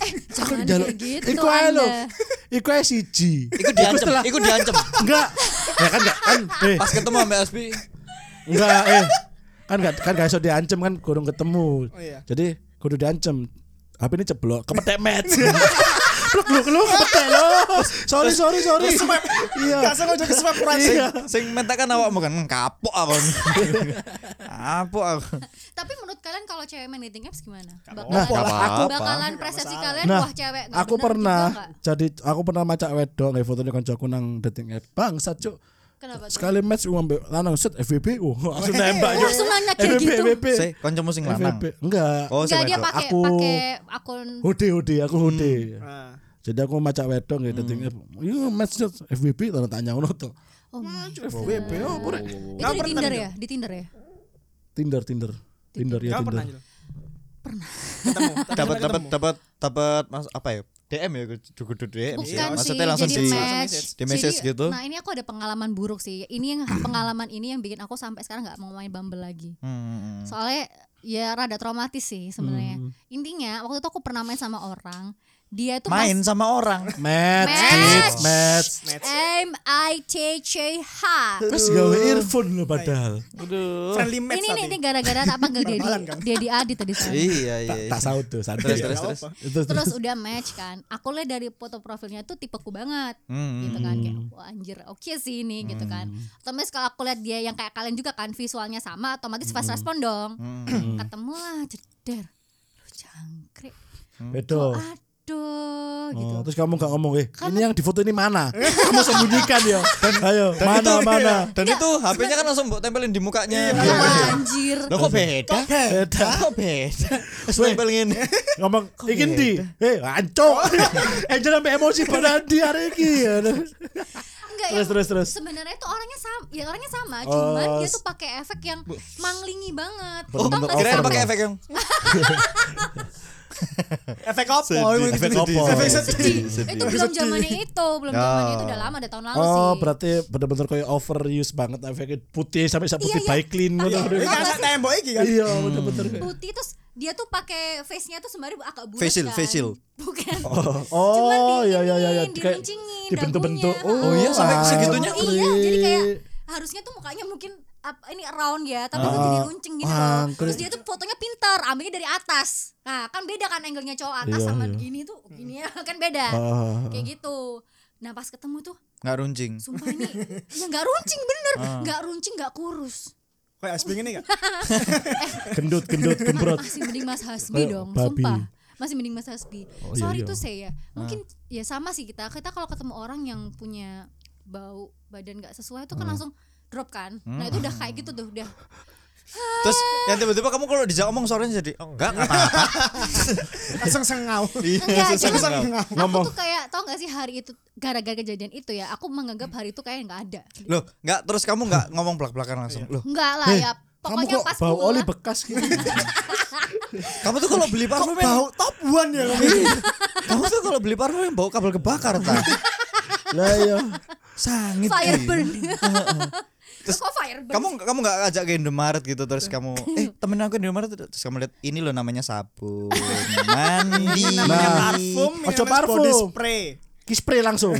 C: eh jangan
B: Jaluk.
C: kayak gitu
B: Iku ae lho.
C: Anda.
B: Iku ae siji.
E: Iku diancem,
B: setelah-
E: iku diancem.
B: Enggak. Ya kan enggak kan eh
E: Pas ketemu sama SB,
B: enggak eh kan enggak kan gak iso diancem kan kurang ketemu.
A: Oh iya.
B: Jadi kudu diancem. HP ini ceblok, kepetek match. Blok blok lu kepetek lo. Sorry sorry sorry.
A: Gak
B: Iya.
A: sengaja ke swap right.
E: sing sing mentakan awakmu kan "Hmm, kapok aku. Kapok aku.
C: tapi menurut kalian kalau cewek main dating apps gimana bakalan,
B: Nah, aku
C: bakalan persepsi kalian
B: Nah,
C: wah cewek nggak
B: aku
C: bener
B: pernah
C: juga nggak?
B: jadi aku pernah macak wedok nggak fotonya kancaku nang dating app. Bangsat cuk.
C: kenapa tuh?
B: Sekali match ngambil lanang set FVP. Wah, langsung nembak cuk.
C: langsung nanya kayak
B: FVP
C: gitu
B: FVP.
E: Sing kancamu sing lanang.
B: FVP. Enggak.
E: Oh, sing
C: Enggak dia
E: wedok.
C: pakai
B: Aku-
C: pakai akun
B: Hode hode aku hode.
E: Hmm.
A: Nah,
B: Jadi aku maca wedok nggih dating app. Iya match set FVP tanda tanya ngono to.
C: oh my God.
B: FVP oh pure.
C: itu di Tinder ya di Tinder ya
B: Tinder Tinder. Tinder ya
A: kamu pernah
B: Tinder.
A: Jul? Pernah. Ketemu. tapi
E: Dapat
A: sampai
E: dapat
A: ketemu.
E: dapat dapat mas apa ya? DM ya kudu DM sih.
C: Bukan sih,
E: Maksudnya langsung
C: jadi
E: di
C: match.
E: di message
C: Jadi,
E: gitu.
C: Nah ini aku ada pengalaman buruk sih. Ini yang pengalaman ini yang bikin aku sampai sekarang nggak mau main Bumble lagi.
E: Hmm.
C: Soalnya ya rada traumatis sih sebenarnya. Intinya waktu itu aku pernah main sama orang. Dia itu
E: Main sama orang.
B: Match,
C: Match.
B: match, match.
C: M I T C H.
B: Terus gawe earphone lo
E: Iya,
B: padahal.
A: friendly match
C: Ini nih
A: tadi.
C: ini gara-gara tak panggil Dedi Dedi Adi tadi saya.
E: Iya iya. iya.
B: Tak saut tuh,
E: Terus
B: santai. ya.
E: terus terus.
B: Terus terus.
C: Terus udah match kan. Aku lihat dari foto profilnya tuh tipeku banget.
E: Hmm.
C: gitu kan kayak wah anjir oke sih ini gitu kan otomatis kalau aku lihat dia yang kayak kalian juga kan visualnya sama otomatis fast respon dong ketemu lah jeder lu jangkrik
E: Hmm.
B: Bedo.
C: aduh gitu
B: Oh, terus kamu gak ngomong, eh ini yang di foto ini mana? Kamu sembunyikan ya. Ayo, mana mana.
E: Dan itu HP-nya kan langsung mbok tempelin di mukanya.
C: Wah, kan, anjir
E: Loh kok beda?
B: Beda.
E: Kok beda? Terus tempel ngene.
B: Ngomong, iki ndi? Eh, ancok. Eh, jangan sampai emosi pada di hari ini. ya.
C: enggak
B: Terus
C: yang-
B: terus terus.
C: sebenarnya tuh orangnya sama ya orangnya sama cuman
B: Oh,
C: dia
B: s-
C: tuh pakai efek yang manglingi banget
E: Oh,
C: Tau nggak
E: kirain
C: sih?
E: pakai efek yang
A: Efek apa?
B: Efek opo.
A: Efek
C: Sedih.
A: sedih.
C: itu belum zamannya itu belum zamannya itu udah lama udah tahun lalu
B: Oh,
C: sih
B: berarti benar-benar kayak overuse banget efeknya putih sampai sak putih
C: Iya, iya.
B: baik clean
C: Tapi-
B: ngono.
A: Ini kan sak tembok iki kan.
B: Iya, bener-bener.
C: putih terus dia tuh pakai face-nya tuh sebenarnya agak bulat
E: Facial,
C: kan.
E: facial.
C: bukan
B: Oh, iya iya iya iya.
C: kayak
B: Kayak dibentuk-bentuk.
E: Oh, iya, sampai
B: ah,
E: segitunya.
C: iya jadi kayak
B: klik.
C: harusnya tuh mukanya mungkin apa ini round ya
B: Ah,
C: tapi tuh jadi runcing gitu
B: ah,
C: loh. terus
B: klik.
C: dia tuh fotonya pinter ambilnya dari atas nah kan beda kan angle-nya cowok atas
B: Iya,
C: sama
B: iya.
C: gini tuh gini ya kan beda
B: Ah.
C: kayak gitu nah pas ketemu tuh
E: enggak runcing.
C: sumpah ini ya nggak runcing bener
B: Ah.
C: nggak runcing nggak kurus
A: Kayak asbing ini kan.
B: gendut gendut gembrot
C: masih mending Mas Hasbi
B: Kayak
C: dong,
B: babi.
C: sumpah. Masih mending Mas Hasbi.
B: Oh, iya,
C: Sorry
B: iya. Nah.
C: tuh saya. Mungkin ya sama sih kita. Kita kalau ketemu orang yang punya bau badan nggak sesuai itu
B: Hmm.
C: kan langsung drop kan. Nah, itu udah kayak gitu tuh, udah.
E: Terus yang tiba-tiba kamu kalau dijak ngomong suaranya jadi oh, enggak enggak apa-apa.
A: Langsung sengau.
B: Iya,
C: Enggak, cuman
A: Sengau.
C: aku tuh kayak tau gak sih hari itu gara-gara kejadian itu ya, aku menganggap hari itu kayak nggak ada.
E: Loh, enggak terus kamu enggak ngomong belak-belakan langsung. Loh,
C: Enggak lah ya.
B: Eh, kamu
C: Pokoknya
B: kok
C: pas
B: bau oli
C: pulang,
B: bekas gitu
E: kamu tuh kalau beli parfum yang- Iya.
A: Bau top one ya kamu.
E: kamu tuh kalau beli parfum yang bau kabel kebakar ta.
B: lah ya
E: iya. Sangit.
C: fire
E: Ki.
C: burn. terus kok Firebird
D: kamu kamu nggak ngajak ke Indomaret gitu terus kamu eh temen aku Indomaret terus kamu lihat ini loh namanya sabun mandi
A: Namanya
B: Nah.
A: parfum, ini
B: Ojo
A: namanya body
B: parfum.
A: spray.
B: Kispray langsung.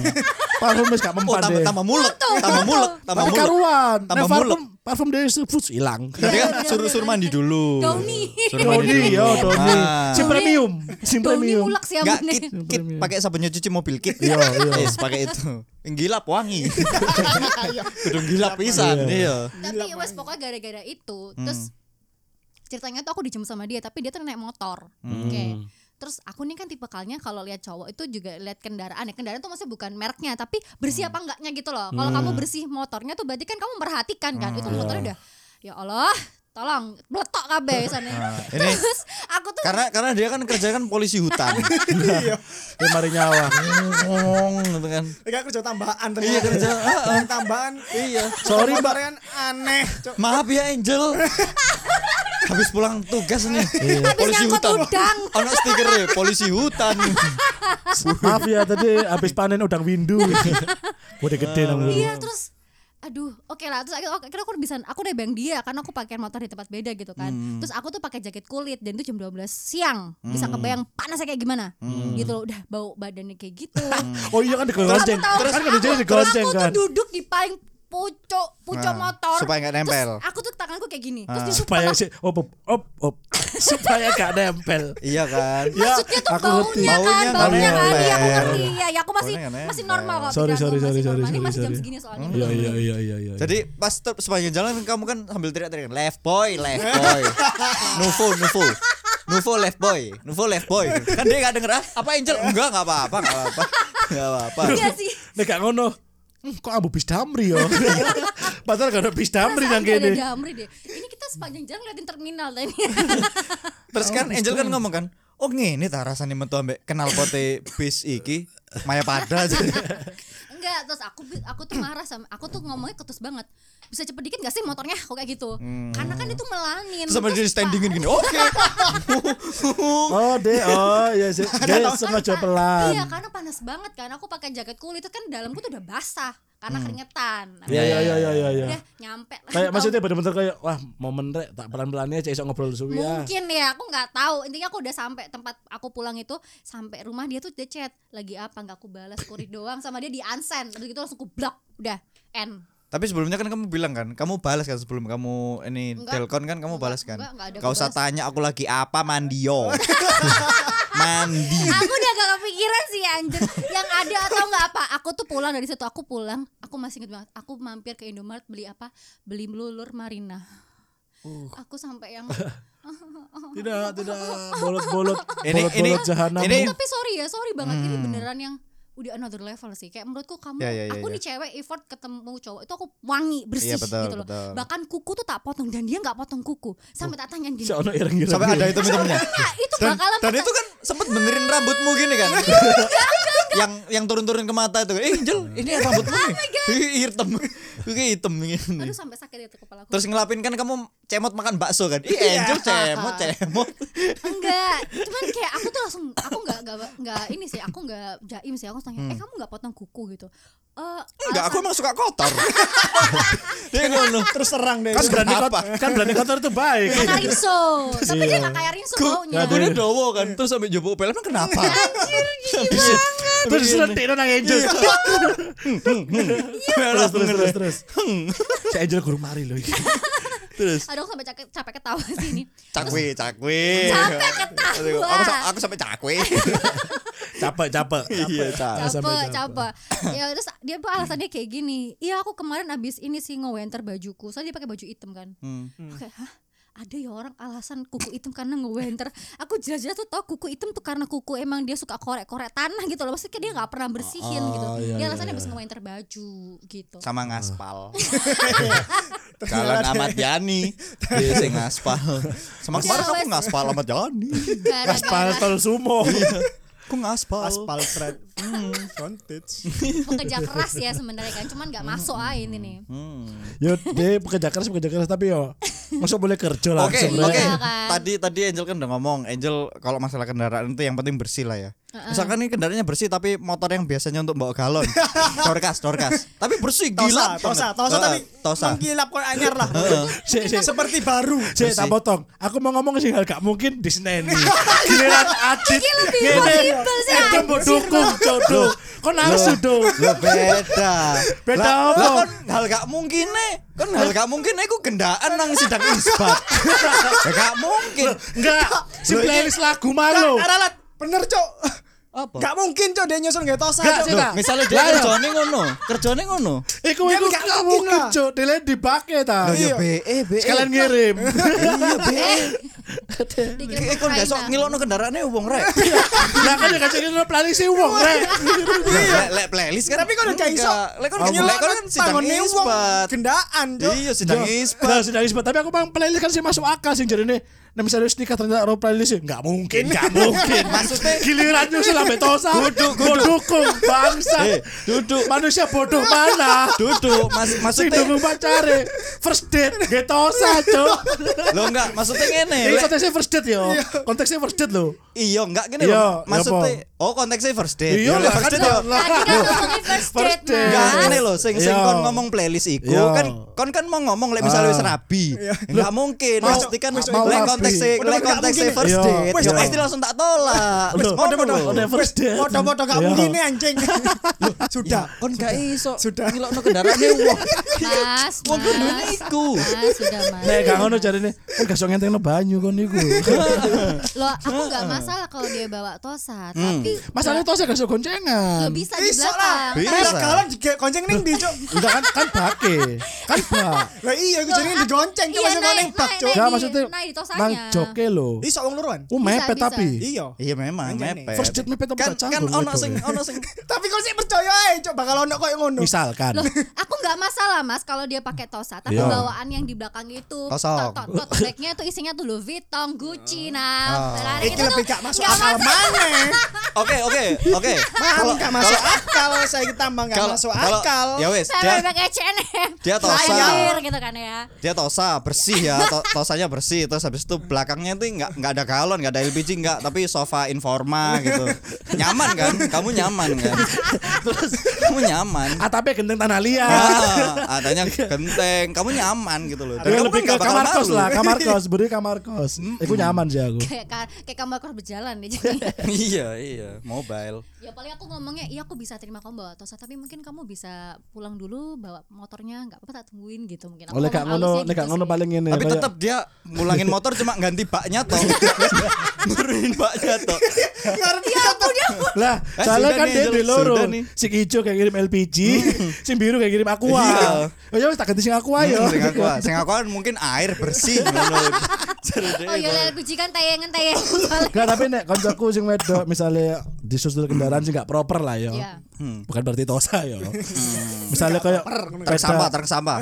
B: Parfum wis gak
D: oh
B: mempan
D: tambah
B: deh.
D: tambah mulek tambah mulek tambah
B: Tapi
D: mulek
B: karuan. Nek
D: Tambah
B: parfum parfum dari Foods hilang.
D: jadi kan suruh suruh mandi dulu
C: Downy.
D: Suruh mandi
B: Doni
D: dulu.
B: yo Doni.
D: Nah.
B: Si premium, si
C: Doni
B: premium.
C: mulak sih
D: Nggak,
C: abunnya.
D: kit, kit pakai sabunnya cuci mobil kit.
B: Iya, iya.
D: Yes, pakai itu. Gilap wangi.
B: Iya.
D: Kudu gilap pisan. Iya.
C: tapi wes pokoknya gara-gara itu
D: Hmm.
C: terus ceritanya tuh aku dijemput sama dia tapi dia tuh naik motor
D: Hmm.
C: oke terus aku nih kan tipikalnya kalau lihat cowok itu juga lihat kendaraan ya kendaraan tuh maksudnya bukan mereknya tapi bersih
D: Hmm.
C: apa enggaknya gitu loh kalau kamu bersih motornya tuh berarti kan kamu memperhatikan kan
D: Hmm.
C: itu
D: Iya.
C: motornya udah ya Allah tolong meletok kabeh sana
D: Nah, ini-
C: terus aku tuh
D: Karena karena dia kan kerja kan polisi hutan.
B: Ya mari nyawa.
D: Ngomong gitu kan.
A: Enggak kerja tambahan ternyata. Iya kerja tambahan. Iya.
B: Sorry, Mbak.
A: Kan aneh. Cok.
D: Maaf ya Angel. Habis pulang tugas nih.
B: Iya.
C: habis nyangkut udang
D: Ono stiker ya, polisi hutan.
B: Maaf ya tadi habis panen udang windu. Udah gede nang.
C: Iya terus aduh oke lah terus akhirnya akhirnya aku bisa aku udah bang dia karena aku pakaian motor di tempat beda gitu kan
B: Hmm.
C: terus aku tuh pakai jaket kulit dan itu jam 12 siang bisa kebayang panasnya kayak gimana gitu loh udah bau badannya kayak gitu
B: Hmm. Oh iya kan digonceng.
C: Aku tahu,
B: Terus kan
C: aku-
B: kerjanya
C: terus
B: digonceng
C: aku
B: kan.
C: tuh duduk di paling pucuk pucuk
D: Nah,
C: motor
D: supaya nggak nempel.
C: terus aku tuh tanganku kayak gini terus di
B: Nah, Supaya si op op op, op. supaya gak nempel.
D: iya kan.
C: maksudnya tuh
B: aku ngerti.
C: baunya kan
D: Baunya
C: baunya
D: nggak
C: kan iya
D: nempel.
C: aku ngerti iya ya aku masih
D: Baunya nggak
C: masih
D: nempel.
C: normal kok
B: Sorry,
C: pikiranku,
B: sorry,
C: masih
B: sorry, sorry,
C: normal. ini
B: sorry,
C: masih jam
B: sorry.
C: segini soalnya
B: Iya iya iya iya iya.
D: Jadi pas ter- sepanjang jalan kamu kan sambil teriak-teriak left boy, left
C: Iya.
D: boy. Nuvo, Nuvo. Nuvo left boy, Nuvo left boy. Kan dia gak denger ah, apa Angel? Enggak, enggak apa-apa, enggak apa-apa. Enggak apa-apa.
C: iya sih
B: nek gak ngono. "Hmm, Kok ambu bis damri yo. Padahal gak ada bis damri nang
C: Perasaan gak ada
B: kene.
C: Damri deh. Ini kita sepanjang jalan ngeliatin terminal tadi.
D: Terus kan Angel kan ngomong kan, "Oh ngene ta rasane metu ambek kenal pote bis iki Maya pada
C: Enggak, terus aku bi- aku tuh marah sama aku tuh ngomongnya ketus banget. Bisa cepet dikit gak sih motornya? Kok kayak gitu.
B: Hmm.
C: Karena kan itu melanin.
D: Terus sampai
C: Terus
D: dia standingin gini. Oke.
B: Oh, deh. Oh, iya sih. Dia sengaja
C: pa- Iya,
B: pelan.
C: karena panas banget kan. Aku pakai jaket kulit itu kan dalamku tuh udah basah karena keringetan.
B: Hmm. Iya iya iya iya iya. iya.
C: Udah nyampe.
B: Kayak
C: Tahu-
B: maksudnya bener-bener kayak wah momen rek tak pelan-pelannya aja iso ngobrol suwi ya.
C: Mungkin ya, aku nggak tahu. Intinya aku udah sampai tempat aku pulang itu sampai rumah dia tuh dia chat lagi apa nggak aku balas kurir doang sama dia di unsend. Terus gitu langsung aku block. Udah end.
D: Tapi sebelumnya kan kamu bilang kan, kamu balas kan sebelum kamu ini
C: Enggak.
D: telkon kan kamu balas kan.
C: enggak, enggak ada
D: Gak usah
C: kebalas.
D: tanya aku lagi apa mandio. Mandi.
C: aku udah gak kepikiran sih anjir yang ada atau nggak apa aku tuh pulang dari situ aku pulang aku masih inget banget aku mampir ke Indomaret beli apa beli melulur Marina
D: Uh.
C: aku sampai yang
B: Tidak, tidak bolot-bolot
D: Ini- ini-
B: bolot-bolot jahanam.
D: ini-
C: tapi sorry ya sorry banget ini beneran yang udah another level sih kayak menurutku kamu
D: Hmm. Ya, ya, ya,
C: aku
D: ya.
C: nih cewek effort ketemu cowok itu aku wangi bersih
D: Iya, betul,
C: gitu loh
D: betul. Oh.
C: bahkan kuku tuh tak potong dan dia nggak potong kuku sampai tak tanyain gini
B: Si ono
C: Iya.
B: ireng-ireng.
D: Sampai ada hitam-hitamnya.
C: "Nah, itu
D: ya? Dan,
C: bakalan
D: dan itu kan sempet benerin rambutmu gini kan. yang yang turun-turun ke mata itu. Eh, Angel, ini rambutmu nih. Ih, hitam. Oke, hitam ini.
C: aduh sampai sakit itu kepala aku
D: Terus ngelapin kan kamu cemot makan bakso kan. Ih, Angel cemot, cemot.
C: enggak cuman kayak aku tuh langsung aku nggak nggak nggak ini sih aku nggak jaim sih aku tanya eh kamu nggak potong kuku gitu Eh,
D: Hmm. Enggak, aku
C: alasan-
D: emang suka kotor. Dia ngono.
A: Terus serang deh.
B: kan berani
D: Kenapa?
B: kotor, kan berani kotor itu baik.
C: karena rinso tapi dia nggak kayak rinso baunya
D: Gue udah dowo kan, terus sampai jopo pelem kenapa? Habis itu-
C: Iya,
B: Terus serentikno nang Angel.
D: Terus,
B: Terus terus terus. terus. Si Angel guru mari loh. iki.
C: aduh aku sampai capek capek ketawa sih ini
D: Cakwe, cakwe.
C: capek
D: Aku, sa-
C: ketawa
D: aku sampai cakwe.
B: Capek capek.
D: Iya, cak.
C: capek capek ya terus dia tuh alasannya kayak gini iya aku kemarin abis ini sih ngewenter bajuku soalnya dia pakai baju hitam kan
B: Hmm.
C: Aku kayak hah ada ya orang alasan kuku hitam karena ngewenter aku jelas-jelas tuh tau kuku hitam tuh karena kuku emang dia suka korek-korek tanah gitu loh maksudnya dia nggak pernah bersihin gitu
B: iya,
C: dia
B: iya,
C: alasannya habis ngewenter baju gitu
D: Sama ngaspal. Jalan Ahmad Yani. Dia sing ngaspal. Sama kemarin
C: Jawa-
D: kamu ngaspal Ahmad Yani.
B: Gaspal
C: gara-gara
B: tol sumo.
D: Aku ngaspal.
A: aspal thread. Hmm, frontage.
C: pekerja keras ya sebenarnya kan cuman nggak masuk aja ini nih
D: Hmm.
B: Yo, dia pekerja keras pekerja keras tapi yo Masa boleh kerja lah.
D: Oke,
C: Iya
D: oke.
C: kan.
D: Tadi tadi Angel kan udah ngomong, Angel kalau masalah kendaraan itu yang penting bersih lah ya. Misalkan ini kendaraannya bersih tapi motor yang biasanya untuk bawa galon, dorkas, dorkas. Tapi bersih
A: Tosa,
D: gila.
A: tosa, tosa
D: Heeh,
A: tapi
D: tosa.
A: mengkilap kok anyar lah.
B: Sik, sik.
A: Seperti baru.
B: Cek tak potong. Aku mau ngomong sih hal gak mungkin di Seneni. Giliran Adit.
C: Iki lebih
B: ngene.
C: impossible
B: Itu
C: sih,
B: mau
C: anjir,
B: dukung jodoh. Kok nafsu do?
D: Loh, beda.
B: Beda apa?
D: Lah- lah Kan hal gak mungkin nih. Kan hal gak mungkin nih aku gendaan nang sidang isbat. ya gak mungkin.
B: Enggak. Si playlist lagu malu.
A: Aralat, Kan, bener cok.
D: Apa?
A: Gak mungkin cok dia nyusul gak tosa.
B: Gak,
A: Cok.
B: Cok.
D: Loh, misalnya dia
B: Lah, iya.
D: kerjane ngono, kerjane ngono.
B: Iku iku
A: gak
B: gak
A: mungkin
B: mungkin
A: lah.
B: jo. Dile dibake ta.
D: Loh, ya be, eh, be. Iya,
B: Sekalian ngirim.
C: Dikirim
D: Eh,
C: ke
D: kon
C: Ukraina.
D: besok ngilokno kendaraannya wong rek.
B: Lah kan gak jadi playlist sih wong rek.
D: Lek lek playlist kan.
A: Tapi kok udah gak iso.
D: Lek kon
A: Nyelok
D: nyelok kan
A: kan
D: sidang
A: tanggone wong
D: isbat.
A: Gendaan cok.
D: Iya sidang
B: Nah,
D: isbat.
B: sedang isbat. Tapi aku bang playlist kan sih masuk akal sih jadi nih. Nah misalnya wis nikah ternyata roh playlist sih nggak mungkin, nggak mungkin.
D: Maksudnya-
B: giliran nyusul sampai tosa.
D: Duduk,
B: Mau dukung bangsa.
D: Eh, duduk.
B: Manusia bodoh mana?
D: Duduk, mas
B: Sing
D: maksudnya
B: dukung pacare. First date nggak tosa cok.
D: lo enggak maksudnya
B: Ini
D: ngene. lek-
B: konteksnya first date yo. Konteksnya first date loh.
D: Iya, enggak gini
B: Iya,
D: loh. Maksudnya
B: iya,
D: oh konteksnya first date.
B: Iya,
D: Ya, lek
B: lah,
D: first
B: kan
D: date ya.
B: lah.
C: Tadi kan ngomongin first date,
B: First date.
D: Enggak
C: Mas.
D: ngene lho sing sing
B: Iya.
D: kon ngomong playlist iku
B: Iya.
D: kan kon kan mau ngomong lek
B: Ah.
D: misalnya wis rabi. Enggak mungkin.
B: Mau-
D: Pasti kan
B: mau
D: lek
B: rabi.
D: konteks
B: Udah,
D: lek
A: enggak
D: konteks
A: mungkin.
D: first
B: Iya,
D: date.
B: wes,
D: Ya
B: iya.
D: pasti langsung tak tolak. Wes,
B: Loh,
D: ngono lho.
B: udah first date.
A: Foto-foto gak
B: Iya.
A: mungkin
D: ya.
A: nih anjing. Sudah.
D: Kon gak iso
A: Sudah.
D: ngilokno kendaraane wong.
C: Mas,
D: Wong
C: mas.
D: kendune iku.
C: Mas, sudah mas.
B: Nek gak ngono jadi nih. Kan gak ngenteng banyu kon iku.
C: Loh, aku nggak masalah kalau dia bawa tosa, tapi
B: Masalahnya tosa gak sok
C: nggak
B: goncengan.
C: bisa di
A: Iso lah.
C: belakang.
D: Bisa.
A: Karena galon juga konceng ning di cok.
B: Enggak kan kan bake. Kan bak.
A: Lah iya aku jenenge digonceng cok
C: Iya,
A: masuk
C: naik,
A: ning bak
C: naik,
A: cok.
B: Gak
C: di-
B: maksudnya
D: nah,
C: naik di tosanya.
B: nang joke lo.
A: Iso wong luruan.
B: Oh mepet
C: bisa.
B: tapi.
A: Iya.
D: Iya memang
A: Anjane.
D: mepet.
B: First date mepet apa
D: Kan
B: canggung
D: kan ono
B: mepet.
D: sing ono sing
A: Tapi kok sih percaya ae cok bakal ono koyo ngono.
B: Misalkan.
C: Loh, aku nggak masalah mas kalau dia pakai tosa, tapi
B: Iya.
C: bawaan yang di belakang itu,
D: Kosong.
C: tot tot tot bagnya itu isinya tuh Louis Vuitton, Gucci, nah, Ferrari,
A: Iki
C: itu
A: lebih
C: tuh
A: gak masuk
C: nggak
A: akal
C: masuk.
A: maneh.
D: Oke, oke, oke.
A: Kalau gak masuk akal saya tambah gak
D: Kalau-
A: masuk
D: kalau-
A: akal.
D: Ya wes, dia
C: Sampai pakai H&M,
D: dia tosa.
C: Sayur gitu kan ya.
D: dia tosa bersih ya to- tosanya bersih terus habis itu belakangnya tuh nggak nggak ada galon nggak ada LPG nggak tapi sofa informa gitu nyaman kan kamu nyaman kan terus kamu nyaman
B: Atapnya genteng tanah liat.
D: ah, adanya genteng kamu nyaman gitu loh
B: Ya,
D: kamu
B: lebih ke
D: nggak bakal
B: kamar
D: malu.
B: kos lah, kamar kos, beri kamar kos. Iku nyaman sih aku.
C: Kayak ka- kayak kamu harus berjalan deh jadi.
D: iya iya mobile
C: Ya paling aku ngomongnya iya aku bisa terima kamu bawa tosa tapi mungkin kamu bisa pulang dulu bawa motornya nggak apa-apa tak tungguin gitu mungkin. Aku
B: Oleh gak
C: ngomong
B: ngono,
C: halusnya
B: nek gak
C: gitu
B: ngono
C: sih.
B: paling ngene.
D: tapi
B: kayak-
D: tetap dia ngulangin motor cuma ganti baknya toh nurunin baknya toh
A: Ngarep ya punya.
B: lah,
D: Eh,
B: soalnya
D: sudah
B: kan
D: nih,
B: dia di
D: sudah
B: loro.
D: nih. Mm.
B: Sing ijo kayak ngirim LPG, sing biru kayak ngirim aqua.
D: Iya. Mm,
B: Oh ya wis tak ganti sing aqua yo.
D: sing aku sing aku kan mungkin air bersih
C: Oh iya lah kunci kan tayangan tayangan
D: Gitu.
C: soalnya.
B: Gak tapi nek koncoku sing wedok misalnya disusul kendaraan sing gak proper lah yo.
C: Iya.
D: Hmm.
B: Bukan berarti tosa yo. Misalnya kayak
D: truk
B: sepeda-
D: sampah truk sampah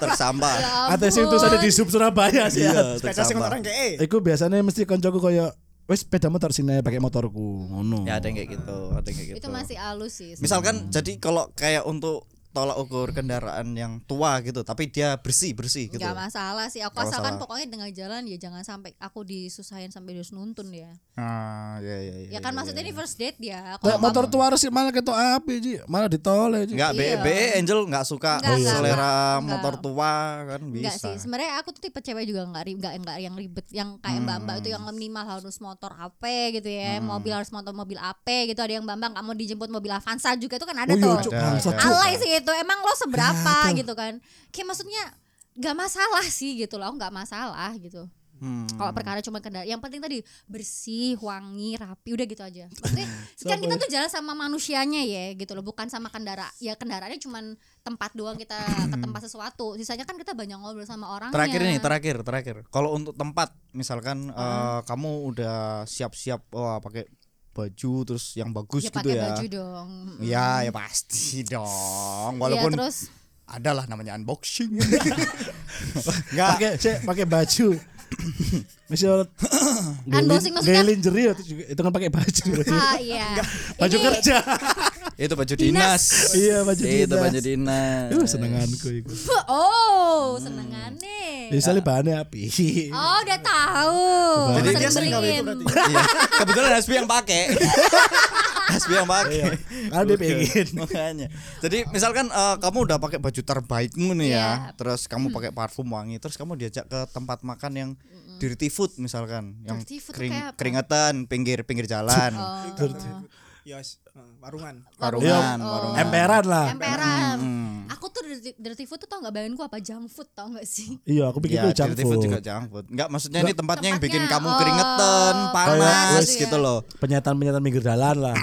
D: truk sampah
C: Ya
B: Atau sing
C: ampun.
B: terus ada di sub Surabaya sih. ya.
D: iya truk
A: Sepeda sing
D: sampah
A: orang kayak eh.
B: Iku biasanya mesti koncoku koyo wis sepeda motor sini pakai motorku ngono.
D: Ya ada yang kayak gitu, ada yang kayak gitu.
C: Itu masih halus sih.
D: Misalkan jadi kalau kayak untuk tolak ukur kendaraan yang tua gitu, tapi dia bersih bersih gitu.
C: Gak masalah sih aku
D: Nggak
C: asalkan
D: masalah.
C: pokoknya dengan jalan ya jangan sampai aku disusahin sampai dia nuntun ya.
D: Ah, ya ya ya.
C: Ya kan maksudnya ini first date
B: Lah,
C: ya. Kalau
B: motor tua harus sih malah ketok api Ji. malah ditoleh Ji.
D: Enggak,
C: Iya.
D: BE BE Angel enggak suka
C: Nggak, nggak,
D: selera
C: nggak.
D: motor tua kan
C: Enggak
D: bisa.
C: sih, sebenarnya aku tuh tipe cewek juga enggak ribet, enggak, enggak yang ribet, yang kayak mbak-mbak itu
D: Hmm.
C: yang minimal harus motor AP gitu ya, mobil harus motor mobil AP gitu, ada yang mbak-mbak nggak mau dijemput mobil Avanza juga itu kan ada
B: Oh iya,
C: tuh.
B: Cuk, bangsat, Cuk.
C: Alay sih itu, emang lo seberapa gitu kan? Kayak maksudnya nggak masalah sih gitu loh, nggak masalah gitu.
D: Hmm.
C: Kalau perkara cuma kendaraan, yang penting tadi bersih, wangi, rapi, udah gitu aja. Maksudnya kan kita tuh jalan sama manusianya ya, gitu loh, bukan sama kendara. Ya kendaraannya cuma tempat doang kita ke tempat sesuatu. Sisanya kan kita banyak ngobrol sama ya. orangnya.
D: Terakhir nih, terakhir, terakhir. Kalau untuk tempat, misalkan
C: Ah.
D: eh, kamu udah siap-siap, wah pakai baju terus yang
C: ya
D: bagus gitu
C: pakai
D: ya.
C: baju dong.
D: Ya, ya pasti dong.
C: ya,
D: Walaupun
C: terus
D: adalah namanya unboxing. Enggak.
B: Pakai cek pakai baju. Mesti orang
C: Unboxing Anu maksudnya?
B: Gaya lingerie itu juga itu kan pakai baju.
C: ah iya.
B: Baju
C: Ini-
B: kerja.
D: Itu baju dinas.
B: Iya, baju
D: Itu
B: dinas. Iya,
D: baju dinas.
B: Itu senenganku itu.
C: Oh, senengane.
B: Bisa bahannya api.
C: Iya. Oh, udah tahu.
B: Hmm. Jadi
C: Sering
A: dia sering kali itu
C: beliin.
A: berarti.
D: Iya. Kebetulan Hasbi yang pakai. Hasbi yang pakai.
B: Kalau Iya, dia pengen.
D: Makanya. Jadi misalkan eh, kamu udah pakai baju terbaikmu nih
C: Iya.
D: ya, terus kamu pakai parfum wangi, terus kamu diajak ke tempat makan yang dirty food misalkan, yang
C: Dirty food tuh
D: kering-
C: kayak apa?
D: keringetan pinggir pinggir jalan,
A: Yes, eh, warungan.
B: Iya.
D: warungan,
C: Oh.
D: warungan.
B: Emperan
D: Ah.
B: lah.
C: Emperan.
D: Hmm.
C: Aku tuh dirty, dirty food tuh tau gak bayangin gua apa junk food tau gak sih?
B: Iya, aku pikir itu
D: Ya,
B: junk
D: dirty food
B: food.
D: juga junk food. Enggak, maksudnya ini tempatnya yang bikin
C: Tempatnya,
D: kamu
C: oh,
D: keringetan, panas,
C: panas gitu
D: gitu
C: ya.
D: loh.
B: Penyataan-penyataan pinggir jalan lah.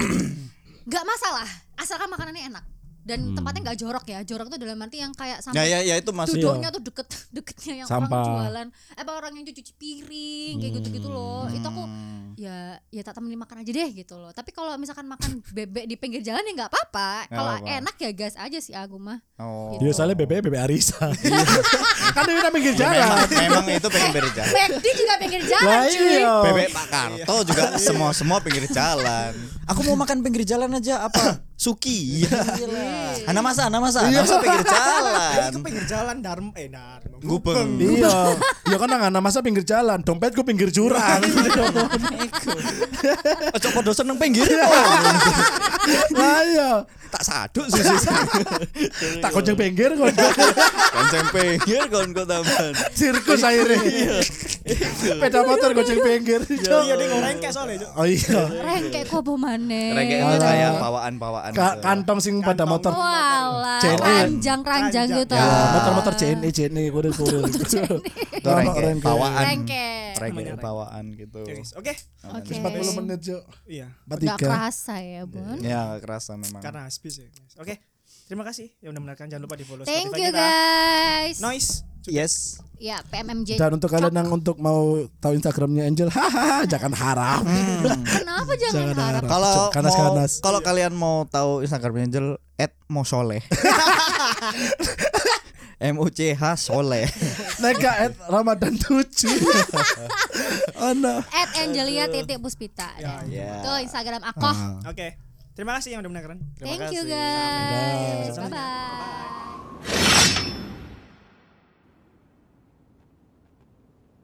C: Gak masalah, asalkan makanannya enak dan tempatnya nggak jorok ya jorok tuh dalam arti yang kayak
D: Hmm. Ya,
C: sampai
D: ya, ya itu masuk.
C: duduknya tuh deket deketnya yang
B: Sampah.
C: orang jualan eh, apa orang yang cuci piring kayak gitu gitu loh itu aku
D: Hmm.
C: ya ya tak temenin makan aja deh gitu loh tapi kalau misalkan makan bebek di pinggir jalan ya nggak apa-apa kalau
D: apa-apa.
C: enak ya gas aja sih aku mah
D: Oh.
B: Iya, soalnya bebek bebek Arisa. kan dia udah pinggir jalan.
D: Iya. Ya, Memang, memang itu pengen berjalan.
C: McD juga pinggir
B: Lah
C: jalan cuy
B: iya.
D: Bebek Pak Karto juga semua semua pinggir jalan. Aku mau makan pinggir jalan aja apa? Suki. Iya. Ana masa, ana masa, ana masa pinggir jalan.
A: Ke pinggir jalan Dharma eh Dharma.
D: Gubeng.
B: Iya. Ya kan nang masa pinggir jalan, dompetku pinggir jurang.
D: Ojo podo seneng pinggir.
B: Lah iya.
D: Tak saduk susu. Iya.
B: Tak koceng pinggir kok.
D: Kanceng Kan pinggir kon kok tambahan. Iya.
B: Sirkus akhirnya. Sepeda motor koceng pinggir.
A: Iya dia ngoreng kayak soalnya. Cuk.
B: Oh iya.
C: rengkek kobo maneh
D: Mereka itu kayak bawaan-bawaan.
B: Ka-
D: gitu.
B: kantong sing pada motor.
C: Walah,
B: Cene.
C: ranjang-ranjang gitu.
B: Ya, motor-motor CNE CNE kudu kudu.
D: Itu rengke, bawaan.
C: Rengkek.
D: Rengke bawaan gitu.
A: Ya, guys. Oke.
C: Oke.
B: 40 menit, Cuk.
A: Iya.
C: Gak
B: 43.
C: kerasa ya,
B: Hmm.
C: Bun.
D: Ya kerasa memang.
A: Karena habis ya. guys. Oke. Terima kasih yang udah mendengarkan. Jangan lupa di follow
C: Thank
A: Spotify
C: you
A: kita.
C: guys.
A: Noise.
D: Yes.
C: Ya, PMMJ.
B: Dan untuk kalian yang untuk mau tahu Instagramnya Angel, hahaha, jangan harap.
C: Kenapa jangan,
B: Jangan
C: harap?
B: harap.
D: Kalau
B: Nah, Kanas,
D: mau-
B: kanas.
D: kalau kalian mau tahu Instagram Angel @mosoleh. M U C H Soleh.
B: Nega at Ramadan 7 Oh no
C: At Angelia titik Puspita.
A: Ya,
C: Nah,
D: ya.
C: Itu
B: Ah.
C: Instagram aku.
A: Oke. Terima kasih yang udah mendengarkan.
C: Thank you guys.
B: Sampai
C: Bye bye.